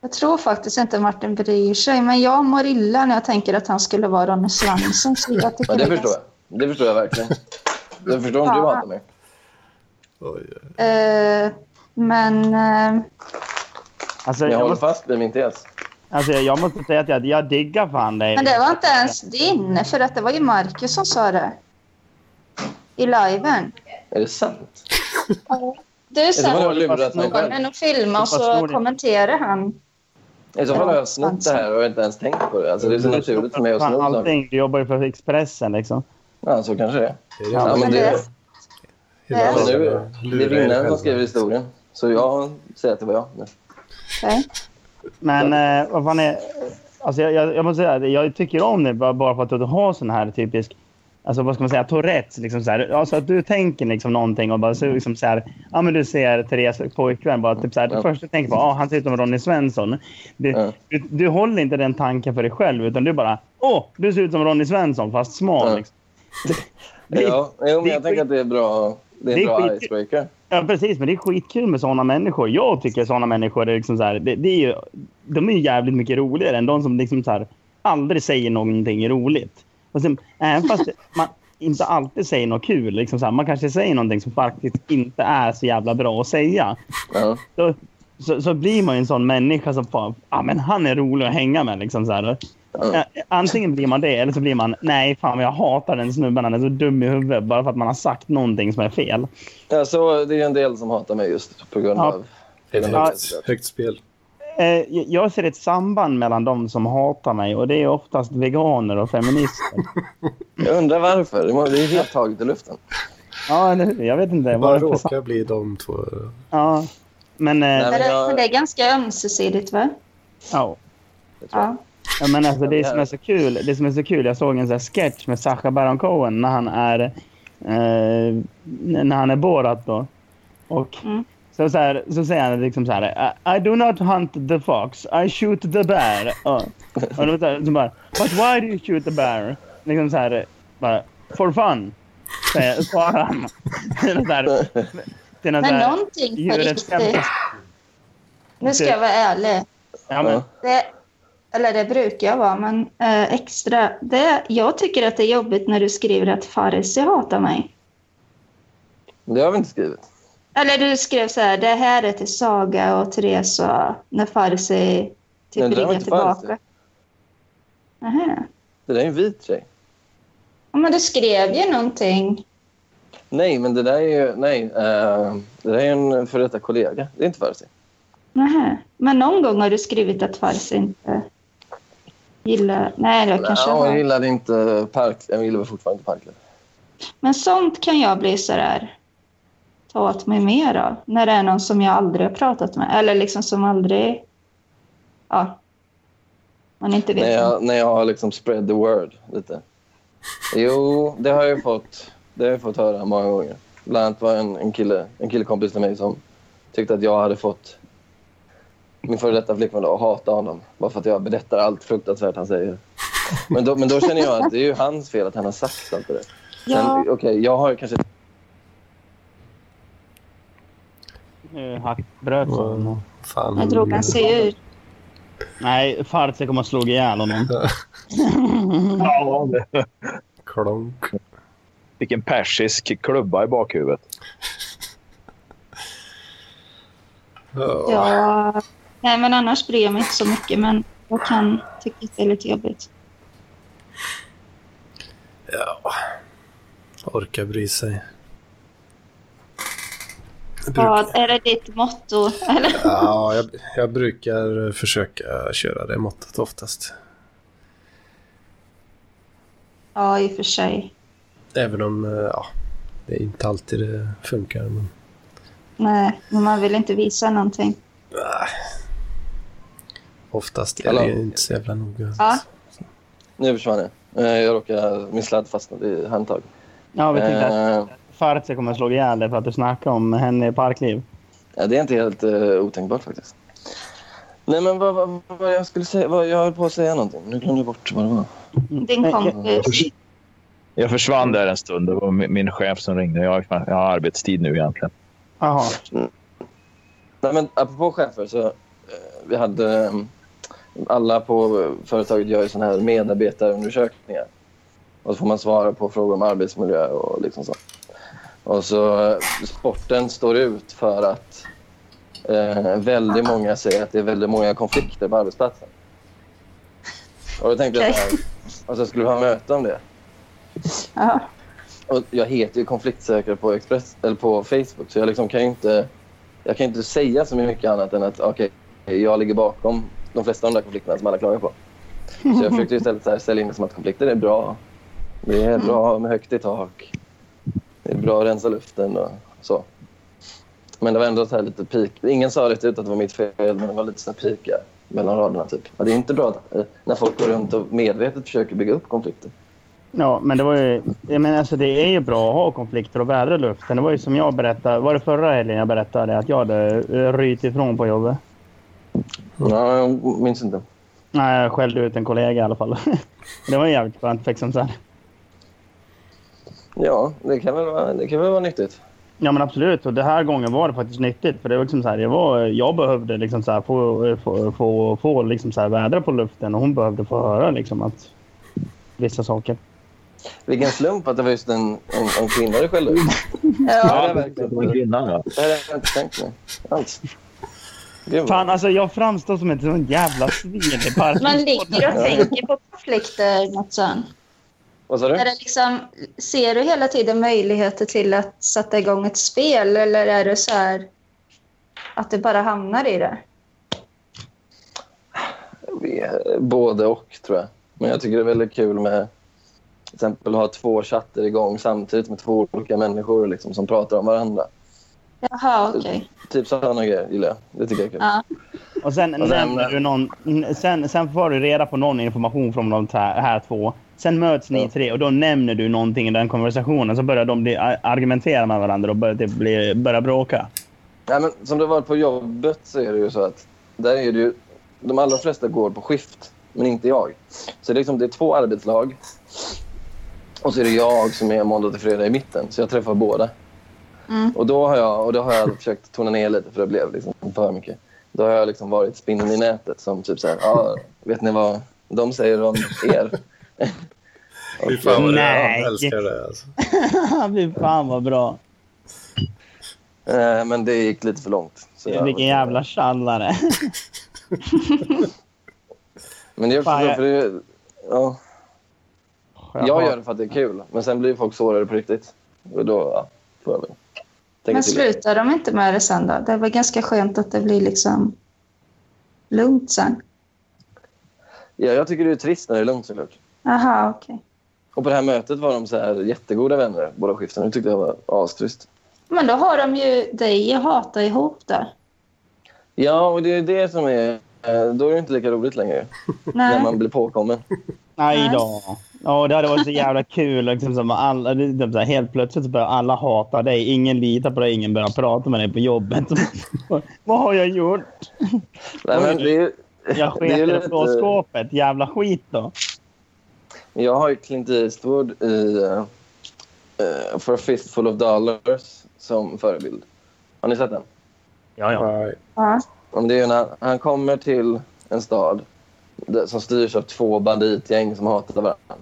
C: Jag tror faktiskt inte Martin bryr sig, men jag mår illa när jag tänker att han skulle vara Ronny Svensson. Så jag tycker
A: Men det
C: är
A: förstår jag. Det förstår jag verkligen. Jag förstår om du hatar mig.
B: Oj,
C: ganska- Eh, men eh,
D: alltså,
A: Men jag
D: jag,
A: håller
D: måste,
A: fast vid min tes.
D: alltså, jag måste säga att jag, jag diggar fan dig.
C: men det var inte ens din, för att det var ju Marcus som sa det. I liven.
A: Är det sant?
C: Du
A: I så fall har
C: sa
A: jag lurat mig själv.
C: men och filma och
D: Det var
C: så
D: snorig.
C: kommenterade han.
A: I så fall har jag snott det här och inte ens tänkt på det. Alltså, det är så naturligt för mig att
D: Mm. Fan,
A: sno saker.
D: Allting, du jobbar ju för Expressen liksom.
A: Ja, så kanske det är.
B: det är
A: Ja, men
C: Men
A: det,
C: det,
B: hela
A: men
C: men
A: nu,
B: tiden
A: det är
B: lura er
A: vinnaren
B: själva.
A: som skriver historien. Så jag säger att det var jag. nu.
C: okej.
D: Men eh, vad fan är... Alltså, jag, jag, jag måste säga att jag tycker om det bara, bara för att du har sån här typisk... Alltså vad ska man säga? Tourettes. Liksom så här. Alltså att du tänker liksom någonting och bara så, liksom så här... Ja men du ser Therese pojkvän bara typ så här. Det
A: Ja.
D: första du tänker på, ah, han ser ut som Ronny Svensson. Du,
A: Ja.
D: du, du håller inte den tanken för dig själv utan du bara, åh, du ser ut som Ronny Svensson fast smal
A: Ja.
D: liksom. Det-
A: Ja, jo, men
D: det är
A: jag tänker att det är bra. Det är en
D: det är
A: bra
D: skit-
A: icebreaker.
D: Ja, precis. Men det är skitkul med såna människor. Jag tycker såna människor är liksom så här, det, det är ju, de är ju jävligt mycket roligare än de som liksom så här, aldrig säger någonting roligt. Och sen, även fast man inte alltid säger något kul, liksom så här, man kanske säger någonting som faktiskt inte är så jävla bra att säga.
A: Ja.
D: Så, så, så blir man ju en sån människa som fan, ah, men han är rolig att hänga med. Liksom så här. Ja, Antingen blir man det eller så blir man nej fan jag hatar den snubben, han är så dum i huvudet bara för att man har sagt någonting som är fel.
A: Ja, så det är en del som hatar mig just på grund
D: Ja.
A: av...
B: Det är ett
D: Ja.
B: högt, högt spel.
D: Eh, jag ser ett samband mellan de som hatar mig och det är oftast veganer och feminister.
A: Jag undrar varför. Det må- Det är helt taget i luften.
D: ja, eller hur? Jag vet inte.
B: Det bara
D: Varför sam-
B: råkar bli de två.
D: ja. Men, eh,
A: Nej,
C: Men
A: men
C: det,
A: jag-
C: men det är ganska ömsesidigt, va?
D: ja.
C: Ja.
D: Ja, men alltså, det, som är så kul, det som är så kul, jag såg en sån här sketch med Sacha Baron Cohen när han är, eh, när han är Borat. Då. Och
C: Mm.
D: så, så, här, så säger han liksom så här. I, I do not hunt the fox, I shoot the bear. Ja. Och då så här, så bara, But why do you shoot the bear? Liksom så här, bara, for fun. säger- Svarar han. Det är något så här- det är något så
C: Men
D: här
C: någonting på
D: djurrättskämt.
C: riktigt. Nu ska jag vara ärlig.
D: Ja, men,
C: Det, eller det brukar jag vara, men eh, extra. Det, jag tycker att det är jobbigt när du skriver att Farsi hatar mig.
A: Det har vi inte skrivit.
C: Eller du skrev så här, det här är till Saga och Therese och när Farsi typ
A: Men det där var
C: ringer
A: inte Farsi.
C: tillbaka. Nähä.
A: Det där är en vit tjej.
C: Ja, men du skrev ju någonting.
A: Nej, men det där är ju... Nej. eh, det där är en före detta kollega. Det är inte Farsi.
C: Nähä. Men någon gång har du skrivit att Farsi inte gillar... Nej, jag kanske
A: Ja,
C: har.
A: jag gillade inte Park... Jag gillar fortfarande inte Parkliv.
C: Men sånt kan jag bli så där ta åt mig mer av. När det är någon som jag aldrig har pratat med. Eller liksom som aldrig... Ja. Man inte vet.
A: När jag, när jag har liksom spread the word lite. Jo, det har jag ju fått, det har jag fått höra många gånger. Bland annat var en, en, kille, en killekompis till mig som tyckte att jag hade fått min före detta flickvän då att hata honom. Bara för att jag berättar allt fruktansvärt han säger. Men då, men då känner jag att det är ju hans fel att han har sagt allt det där.
C: Ja.
A: Sen, okej, jag har kanske...
D: nu eh, hackbröt
B: Och,
D: hon.
B: fan,
C: Jag drog han sig ur.
D: Nej, Farsi kommer att slå ihjäl honom.
E: Ja,
B: Klonk.
E: vilken persisk klubba i bakhuvudet.
B: Ja.
C: Ja. Nej, men annars bryr jag mig inte så mycket. Men jag kan tycka att det är lite jobbigt.
B: ja. Orkar bry sig. Jag brukar-
C: Ja, är det ditt motto? Eller?
B: Ja, jag, jag brukar försöka köra det måttet oftast.
C: Ja, i och för sig.
B: Även om eh, ja, det är inte alltid det funkar. Men,
C: Nej, men man vill inte visa någonting.
B: nej. Oftast är
A: Hallå?
B: det inte så jävla noga.
C: Ja.
A: Nu försvann jag. Eh, Jag råkar... Min sladd fastnade i handtag.
D: Ja, vi tänkte att
A: Eh,
D: Farce kommer att slå ihjäl dig för att du snackar om henne i Parkliv.
A: Ja, det är inte helt eh, otänkbart faktiskt. Nej, men vad, vad, vad jag skulle säga... Vad, jag höll på att säga någonting. Nu glömde jag bort vad det var.
C: Mm.
D: Eh,
C: Din kompis.
E: Jag försvann där en stund. Det var min min chef som ringde. Jag har, jag har arbetstid nu egentligen.
D: Jaha.
A: Nej, men apropå chefer så... Eh, vi hade... eh, alla på eh, företaget gör ju såna här medarbetarundersökningar. Och så får man svara på frågor om arbetsmiljö och liksom så. Och så eh, sporten står ut för att eh, väldigt många säger att det är väldigt många konflikter på arbetsplatsen. Och då tänkte jag så här, och så skulle vi ha möte om det.
C: Ja.
A: Och jag heter ju konfliktsäker på, Express, eller på Facebook så jag liksom kan ju inte, jag kan inte säga så mycket annat än att okej, jag ligger bakom de flesta av de där konflikterna som alla klagar på. Så jag försökte ju istället så här sälja in det som att konflikter är bra. Det är bra med högt i tak. Det är bra att rensa luften och så. Men det var ändå så här lite pik. Ingen sa rätt ut att det var mitt fel, men det var lite så här pika mellan raderna. Typ. Ja, det är inte bra att, eh, när folk går runt och medvetet försöker bygga upp konflikter.
D: Ja, men det var ju... Jag menar, alltså, det är ju bra att ha konflikter och vädra luften. Det var ju som jag berättade... Var det förra helgen jag berättade att jag hade eh, ryt ifrån på jobbet?
A: Ja, jag minns inte.
D: Nej, jag skällde ut en kollega i alla fall. det var ju jävligt skönt. Liksom, så här.
A: Ja, det kan väl vara, det kan väl vara nyttigt.
D: Ja men absolut. Och det här gången var det faktiskt nyttigt. För det var liksom så här, jag, var, jag behövde liksom så här få, få, få, få liksom så här vädra på luften och hon behövde få höra liksom att vissa saker.
A: Vilken slump att det var just en, en, en kvinna du skällde ut.
C: Ja.
A: det är verkligen.
E: Det var en kvinna, ja.
A: Det här hade jag inte tänkt mig alls. Gud, vad-
D: Fan alltså jag framstår som ett sånt jävla svin i parken.
C: Man ligger och tänker på konflikter, Matsan.
A: Vad sa du?
C: Är det liksom, ser du hela tiden möjligheter till att sätta igång ett spel eller är det så här att det bara hamnar i det?
A: Vi- Både och, tror jag. Men jag tycker det är väldigt kul med till exempel att ha två chatter igång samtidigt med två olika människor liksom, som pratar om varandra.
C: Jaha, okej.
A: Typ sådana grejer gillar jag. Det tycker jag är kul.
C: Ja.
D: Och sen
A: Och sen-
D: nämner du någon... n- Sen, sen får du reda på någon information från de här, här två. Sen möts ni
A: Ja.
D: tre och då nämner du någonting i den konversationen. Så börjar de bli, ar- argumentera med varandra och börjar, typ bli, börjar bråka.
A: Nej, men som det var på jobbet så är det ju så att där är det ju, de allra flesta går på skift, men inte jag. Så det är, liksom, det är två arbetslag och så är det jag som är måndag till fredag i mitten, så jag träffar båda.
C: Mm.
A: Och då har jag, och då har jag försökt tona ner lite för det blev liksom för mycket. Då har jag liksom varit spinnen i nätet som typ så här, ja, vet ni vad de säger om er?
B: Fy fan vad det är.
D: Nej.
B: Jag älskar det. Alltså.
D: Fy fan vad bra.
A: Eh, Men det gick lite för långt. Så jag-
D: Vilken jävla tjallare.
A: Men det är också
D: Fan,
A: så,
D: jag-
A: för det, ja. Jag gör det för att det är kul, men sen blir folk sårade på riktigt. Och då ja, får jag väl tänka
C: Men
A: till.
C: slutar de inte med det sen då? Det var ganska skönt att det blir liksom lugnt sen.
A: Ja, jag tycker det är trist när det är lugnt såklart.
C: Jaha, okej.
A: Och på det här mötet var de så här jättegoda vänner, båda skiften. Det tyckte jag var astrist.
C: Men då har de ju dig att hata ihop där.
A: Ja, och det är det som är... eh, Då är det inte lika roligt längre, när
C: Nej.
A: man blir påkommen.
D: Nej
C: Nej.
D: då. Ja, det hade varit så jävla kul. Liksom, som alla, det är typ så här, helt plötsligt så börjar alla hata dig. Ingen litar på dig. Ingen börjar prata med dig på jobbet. Vad har jag gjort?
A: Nej, men det är,
D: Jag
A: Det är
D: sket i det
A: lite-
D: blå skåpet. Jävla skit då.
A: jag har ju Clint Eastwood i eh, eh, For a fistful of dollars som förebild. Har ni sett den?
D: Ja,
B: Ja.
C: Ja.
A: Om det är när han kommer till en stad där- som styrs av två banditgäng som hatar varandra.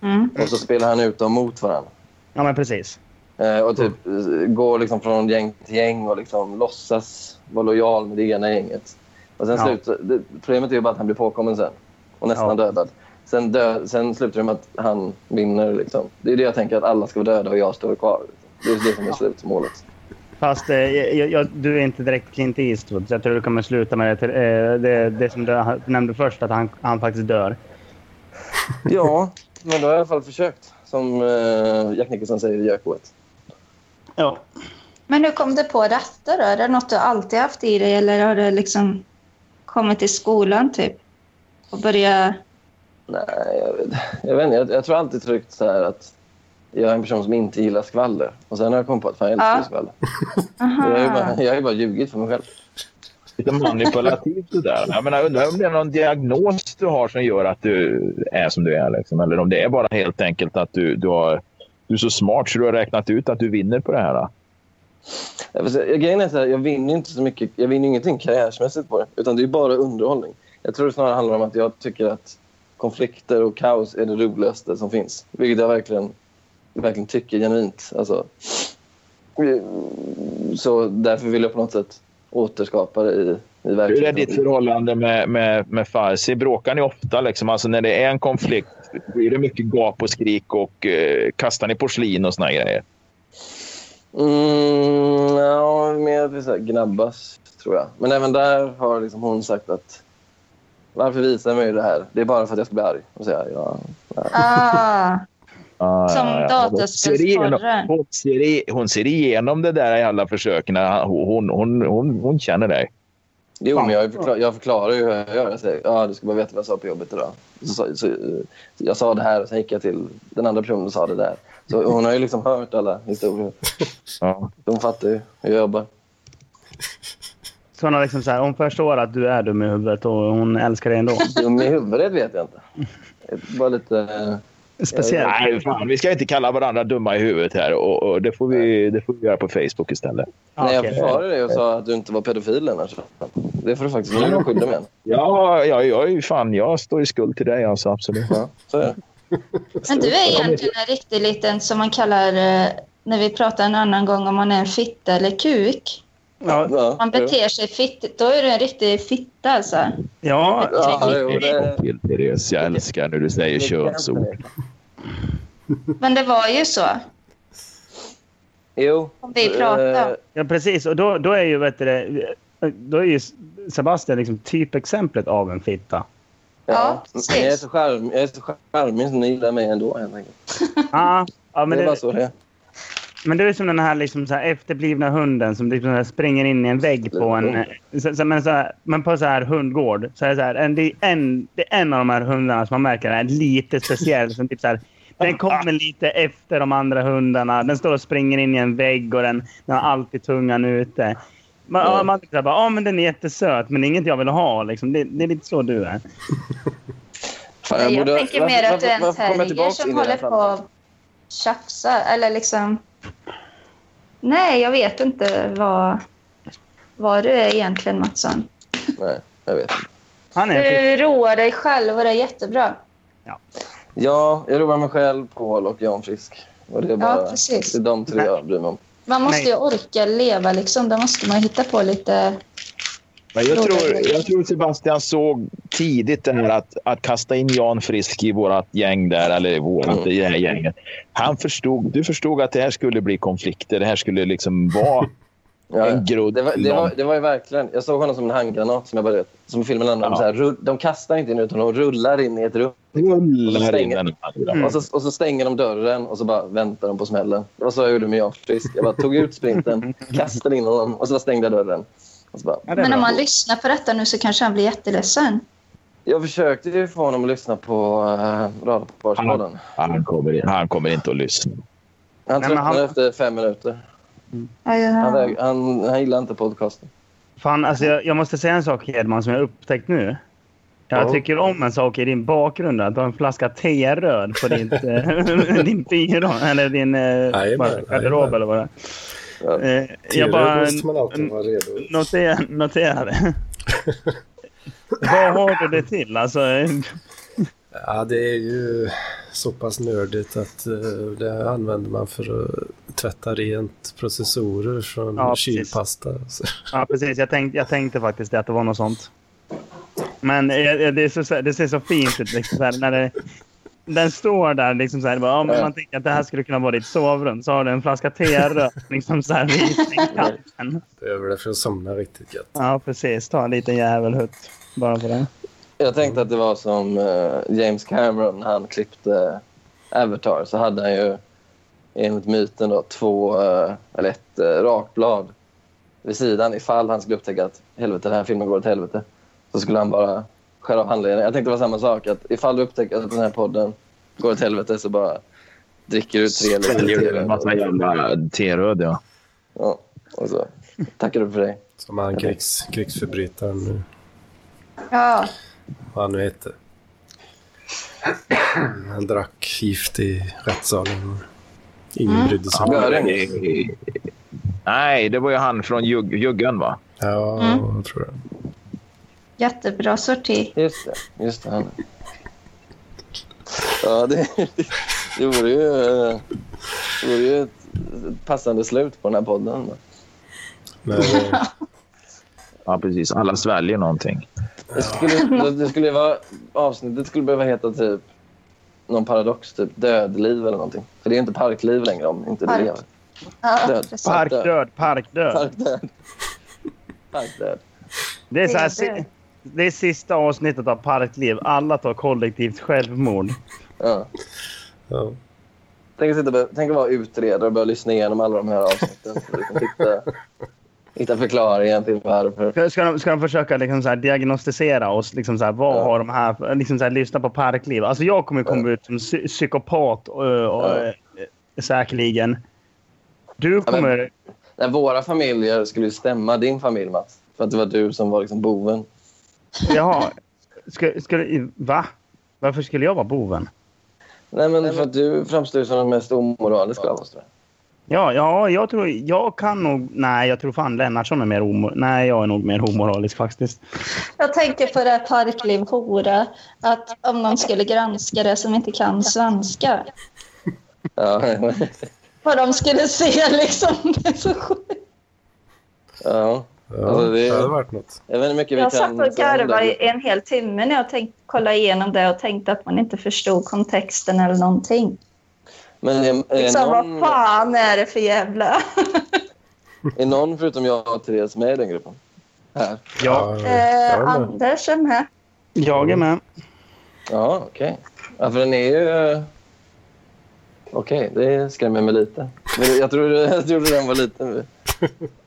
C: Mm.
A: Och så spelar han ut dem mot varandra.
D: Ja, men precis.
A: Eh, och typ eh, går liksom från gäng till gäng och liksom låtsas vara lojal med det ena gänget. Och sen
D: Ja.
A: slut, det, problemet är ju bara att han blir påkommen sen. Och nästan
D: Ja.
A: dödad. Sen, dö, sen slutar det med att han vinner. Liksom. Det är det jag tänker, att alla ska vara döda och jag står kvar. Det är det som är slutmålet.
D: Fast eh, jag, jag, du är inte direkt Clint Eastwood, så jag tror du kommer sluta med det, till, eh, det, det som du nämnde först, att han, han faktiskt dör.
A: Ja, men då har jag i alla fall försökt. Som eh, Jack Nicholson säger i Gökoet.
D: Ja.
C: Men hur kom du på detta då? Är det något du alltid haft i dig eller har du liksom kommit till skolan typ? Och börjat...
A: Nej, jag vet, jag vet inte. Jag, jag tror alltid tryckt så här att jag är en person som inte gillar skvaller. Och sen har jag kommit på att fan, jag älskar
C: Ja.
A: ju skvaller. Jag har ju
C: Aha.
A: bara, jag har ju bara ljugit för mig själv.
E: Lite manipulativt det där. Jag menar, undrar om det är någon diagnos du har som gör att du är som du är. Liksom. Eller om det är bara helt enkelt att du, du, har, du är så smart så du har räknat ut att du vinner på det här. Då.
A: Jag vill säga, Grejen är så här, jag vinner ju inte så mycket. Jag vinner ju ingenting karriärsmässigt på det. Utan det är ju bara underhållning. Jag tror det snarare handlar om att jag tycker att konflikter och kaos är det roligaste som finns. Vilket jag verkligen, verkligen tycker genuint. Alltså, så därför vill jag på något sätt återskapa det i, i
E: Hur är
A: verkligheten.
E: ditt förhållande med, med, med Farsi? Bråkar ni ofta? Liksom? Alltså, när det är en konflikt, blir det mycket gap och skrik och eh, kastar ni porslin och såna grejer?
A: Mm, ja, mer att vi så här gnabbas, tror jag. Men även där har liksom hon sagt att varför visar du mig det här? Det är bara för att jag ska bli arg. Och säga, ja.
C: Ah.
E: Ah,
C: Som dataspelsporren.
E: Hon ser igenom- Hon, ser i- hon ser igenom det där i alla försöken. Hon, hon, hon, hon, hon känner dig.
A: Jo, men jag, förklar, jag förklarar ju hur jag gör. Jag säger, ja, du ska bara veta vad jag sa på jobbet idag. Så, så, så, jag sa det här och sen gick jag till den andra personen och sa det där. Så hon har ju liksom hört alla historier.
E: Ja.
A: De fattar ju hur jag jobbar.
D: Så hon, har liksom så här, hon förstår att du är dum i huvudet och hon älskar dig ändå.
A: Jo, Med huvudet vet jag inte. Bara lite eh,
D: Speciellt.
E: Nej, fan. Vi ska inte kalla varandra dumma i huvudet här. Och, och det, får vi, det får vi göra på Facebook istället.
D: Ja,
A: Nej, jag
D: okej.
A: försvarade dig och sa att du inte var pedofil Lennart. Det får du faktiskt nu skydda med.
E: Ja, ja, jag är ju fan. Jag står i skuld till dig alltså. Absolut.
A: Så är det.
C: Men du är egentligen en riktig liten, som man kallar, eh, när vi pratar en annan gång, om man är en fitta eller kuk.
D: Ja,
A: Ja,
C: Man
A: jo.
C: beter sig fittigt, då är du en riktig fitta alltså.
D: ja,
A: Ja, jo, det...
E: Till Therese, jag älskar när du säger könsord.
C: Men det var ju så.
A: Jo.
C: Om vi pratar.
A: Eh,
D: ja, precis. Och då, då är ju, vet du, det, då är ju Sebastian liksom typexemplet av en fitta.
C: Ja,
A: Men
C: precis.
A: Jag är så charm- jag är så charmig så ni gillar mig ändå helt enkelt.
D: Ja, ja,
A: det
D: men,
A: är bara
D: det,
A: så det är.
D: men det är som den här, liksom, så här efterblivna hunden som liksom, så här, springer in i en vägg på en... Så, så, men, så här, men på så här hundgård. Så här, så här, en, det, är en, det är en av de här hundarna som man märker är lite speciell. Som typ så här, den kommer lite efter de andra hundarna. Den står och springer in i en vägg och den, den har alltid tungan ute. Man, ja. man tycker så här, bara, "Ah, men den är jättesöt, men det är inget jag vill ha. Liksom. Det, det är lite så du är.
A: Fan,
C: jag
A: borde-
C: tänker
A: varför-
C: mer att
A: varför-
C: du är en
A: varför kommer jag
C: terrier
A: tillbaks
C: som
A: in i det
C: håller
A: här
C: på
A: samtalet?
C: och tjafsar. Eller liksom... Nej, jag vet inte vad, vad du är egentligen, Mattsson.
A: Nej, jag vet.
D: Han
C: Eh,
D: är en
C: Du
D: fitta.
C: roar dig själv och det är jättebra.
A: Ja, jag roar mig själv, Paul och Jan Frisk. Och det är bara
C: Ja, precis.
A: det är de tre jag bryr mig om.
C: Man måste
D: Nej.
C: ju orka leva, liksom. Då måste man hitta på lite...
E: Men jag tror, jag tror Sebastian såg tidigt det här att, att kasta in Jan Frisk i vårt gäng där, eller i vårat, i det här gänget. Han förstod, du förstod att det här skulle bli konflikter. Det här skulle liksom vara
A: Ja,
E: en
A: ja.
E: grodd
A: det, var, det, var, det var ju verkligen... Jag såg honom som en handgranat som, jag bara, som i filmen handlar om.
E: Ja.
A: Så här, rull, de kastar inte in utan de rullar in i ett rum.
E: rullar in den.
D: Mm.
A: Och, så, och så stänger de dörren och så bara väntar de på smällen. Det var så jag gjorde med Jan Frisk. Jag bara tog ut sprinten, kastade in honom och så bara stängde jag dörren. Och så bara,
D: Ja, det är
C: Men om
D: bra.
C: man lyssnar på detta nu så kanske han blir jätteledsen.
A: jag försökte ju få honom att lyssna på uh, Radarparspodden.
E: Han kommer, han kommer inte att lyssna.
A: Han
D: Nej, men han-
A: tröttnade efter fem minuter.
C: Ja, ja.
A: Han, väg, han, han gillar inte podcasten.
D: Fan, alltså jag, jag måste säga en sak Hedman som jag upptäckt nu. Jag
B: Ja.
D: tycker om en sak i din bakgrund. Att du har en flaska te-röd på ditt, eh, din byrå. Eller din eh,
B: Jajamän,
D: bara garderob
B: jajamän.
D: eller vad det
A: Ja.
D: är.
B: Jag
D: Eh, jag bara
B: måste man alltid vara redo.
D: noterar, noterar det. vad har du det till? Alltså, eh,
B: Ja, det är ju så pass nördigt att eh, det använder man för att tvätta rent processorer från
D: Ja, precis.
B: kylpasta. Så.
D: ja, precis. Jag tänkte, jag tänkte faktiskt det, att det var något sånt. Men eh, eh, det, är så- så, det ser så fint ut. Liksom, så här, när det, den står där. Liksom, så här, bara, om man tänker att det här skulle kunna vara ditt sovrum så har du en flaska te-röd liksom, så här, vid sängkanten.
B: Behöver det för att somna riktigt gött.
D: Ja, precis. Ta en liten jävelhutt bara för det.
A: Jag tänkte att det var som eh, James Cameron när han klippte Avatar. Så hade han ju enligt myten då, två, eh, eller ett uh, rakblad vid sidan ifall han skulle upptäcka att helvete, den här filmen går åt helvete. Så skulle han bara skära av handleden. Jag tänkte det var samma sak. Att ifall du upptäcker att den här podden går åt helvete så bara dricker du tre
E: Sväljer
A: liter
E: du en massa
A: te.
E: jävla teröd, ja.
A: Ja, och så tackar du för dig.
B: Som han krigs, krigsförbrytaren nu,
C: ja.
B: vad han nu heter. Han drack gift i rättssalen. Ingen brydde sig om det.
A: Göring.
E: Nej, det var ju han från jugg, Juggan, va?
B: Ja, jag tror det.
C: Jättebra sorti.
A: Just det. Just det han. Ja, det, det vore ju, eh, det vore ju ett ett passande slut på den här podden.
B: Men, eh,
E: Ja, precis. Alla sväljer någonting.
A: Det skulle, det, det skulle vara, avsnittet skulle behöva heta typ någon paradox, typ dödliv eller någonting. För det är inte parkliv längre om inte det
C: Park.
A: lever.
C: Ja,
A: Död.
C: precis.
D: Parkdöd, parkdöd.
A: Parkdöd. Parkdöd.
D: Det är, så här,
C: Det är det.
D: si- det är sista avsnittet av Parkliv. Alla tar kollektivt självmord.
A: Ja.
B: ja.
A: Tänk att, sitta, och bör- tänk att vara utredare och börja lyssna igenom alla de här avsnitten. Så du kan hitta, hitta förklaringen till varför.
D: Ska, ska, de, ska de försöka liksom så här diagnostisera oss? Liksom så här, vad
A: Ja.
D: har de här... för- Liksom så här, lyssna på Parkliv. Alltså jag kommer komma ut som psy- psykopat och, och,
A: Ja.
D: eh, säkerligen. Du
A: men-
D: kommer...
A: Nej, våra familjer skulle ju stämma din familj, Mats. För att det var du som var liksom boven.
D: Jaha. Ska, ska, du- va? Varför skulle jag vara boven?
A: Nej, men för att du framstår som den mest omoraliska av oss. tror jag.
D: Ja, ja jag, tror, jag kan nog... Nej, jag tror fan Lennartsson är mer homo... Nej, jag är nog mer omoralisk faktiskt.
C: Jag tänker på det här Parkliv hora, att om någon skulle granska det som inte kan svenska,
A: Ja.
C: vad de skulle se liksom. Det är så sjukt.
A: ja.
B: Ja,
A: Alltså, det-
B: det hade varit något.
A: Jag vet inte hur mycket vi
C: Jag satt
A: kan...
C: och
A: säga om
C: garvade
A: det.
C: i en hel timme när jag tänkte kolla igenom det och tänkte att man inte förstod kontexten eller någonting.
A: Men är, är,
C: Liksom,
A: någon,
C: vad fan är det för jävla...
A: är någon förutom jag och Therese med i den gruppen? Här.
D: Ja,
A: Mm.
B: jag
C: Eh,
B: med.
C: Anders är med.
D: jag är med.
A: Ja, okej. Ja, för den är ju... Okej, det skrämmer mig lite. Men jag trodde, jag trodde den var liten.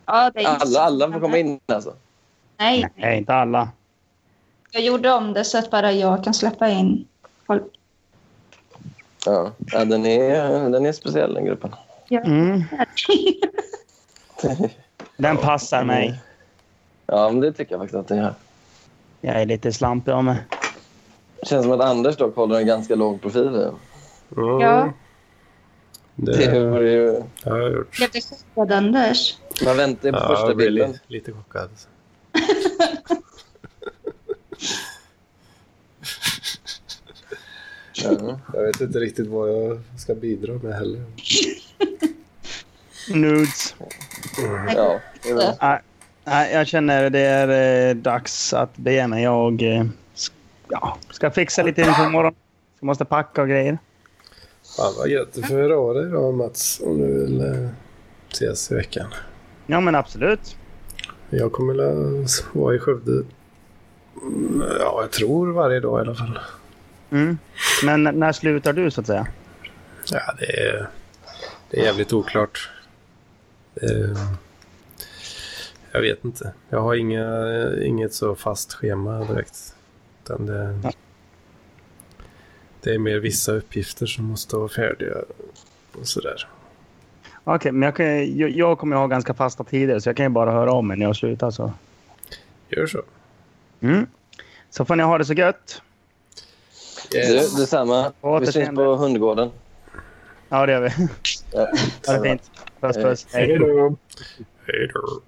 C: Ja, det är inte så
A: Alla, alla får
C: många.
A: komma in alltså.
C: Nej,
D: Nej, inte alla.
C: jag gjorde om det så att bara jag kan släppa in folk.
A: Ja, ja den, är, den är speciell den gruppen.
D: Mm. Den passar mig.
A: Ja, men det tycker jag faktiskt att det är.
D: Jag är lite slampig av mig.
A: Det känns som att Anders dock håller en ganska låg profil. i den.
B: Mm.
C: Ja.
A: Det
B: Det
A: vore ju...
B: har jag gjort.
C: Blev du chockad, Anders?
A: Man väntar ju på första
B: jag blev
A: bilden.
B: li- lite chockad.
A: Ja.
B: Jag vet inte riktigt vad jag ska bidra med heller.
D: Nudes.
A: ja. det är väl-
D: Nej, jag känner det är eh, dags att bege mig. Jag eh, s- ja, ska fixa lite inför imorgon. Jag måste packa och grejer.
B: Fan vad gött. Du får höra av dig då Mats om du vill eh, ses i veckan.
D: Ja, men absolut.
B: Jag kommer la- vara i Skövde. mm, Ja, jag tror varje dag i alla fall.
D: Mm. Men n- när slutar du så att säga?
B: Ja, det är, det är jävligt oklart. Eh, Jag vet inte. Jag har inga, inget så fast schema direkt. Utan det,
D: Ja.
B: det är mer vissa uppgifter som måste vara färdiga och sådär.
D: Okej, men jag, kan, jag, jag kommer ju ha ganska fasta tider så jag kan ju bara höra om mig när jag slutar. Så,
B: Gör så.
D: mm. så får ni ha det så gött.
A: Du, detsamma.
D: Återseende.
A: Vi syns på hundgården.
D: Ja, det gör vi.
A: Ja.
B: Eh,
D: Ha det fint. Puss, puss. Hej.
E: Hej då.
B: Hej då.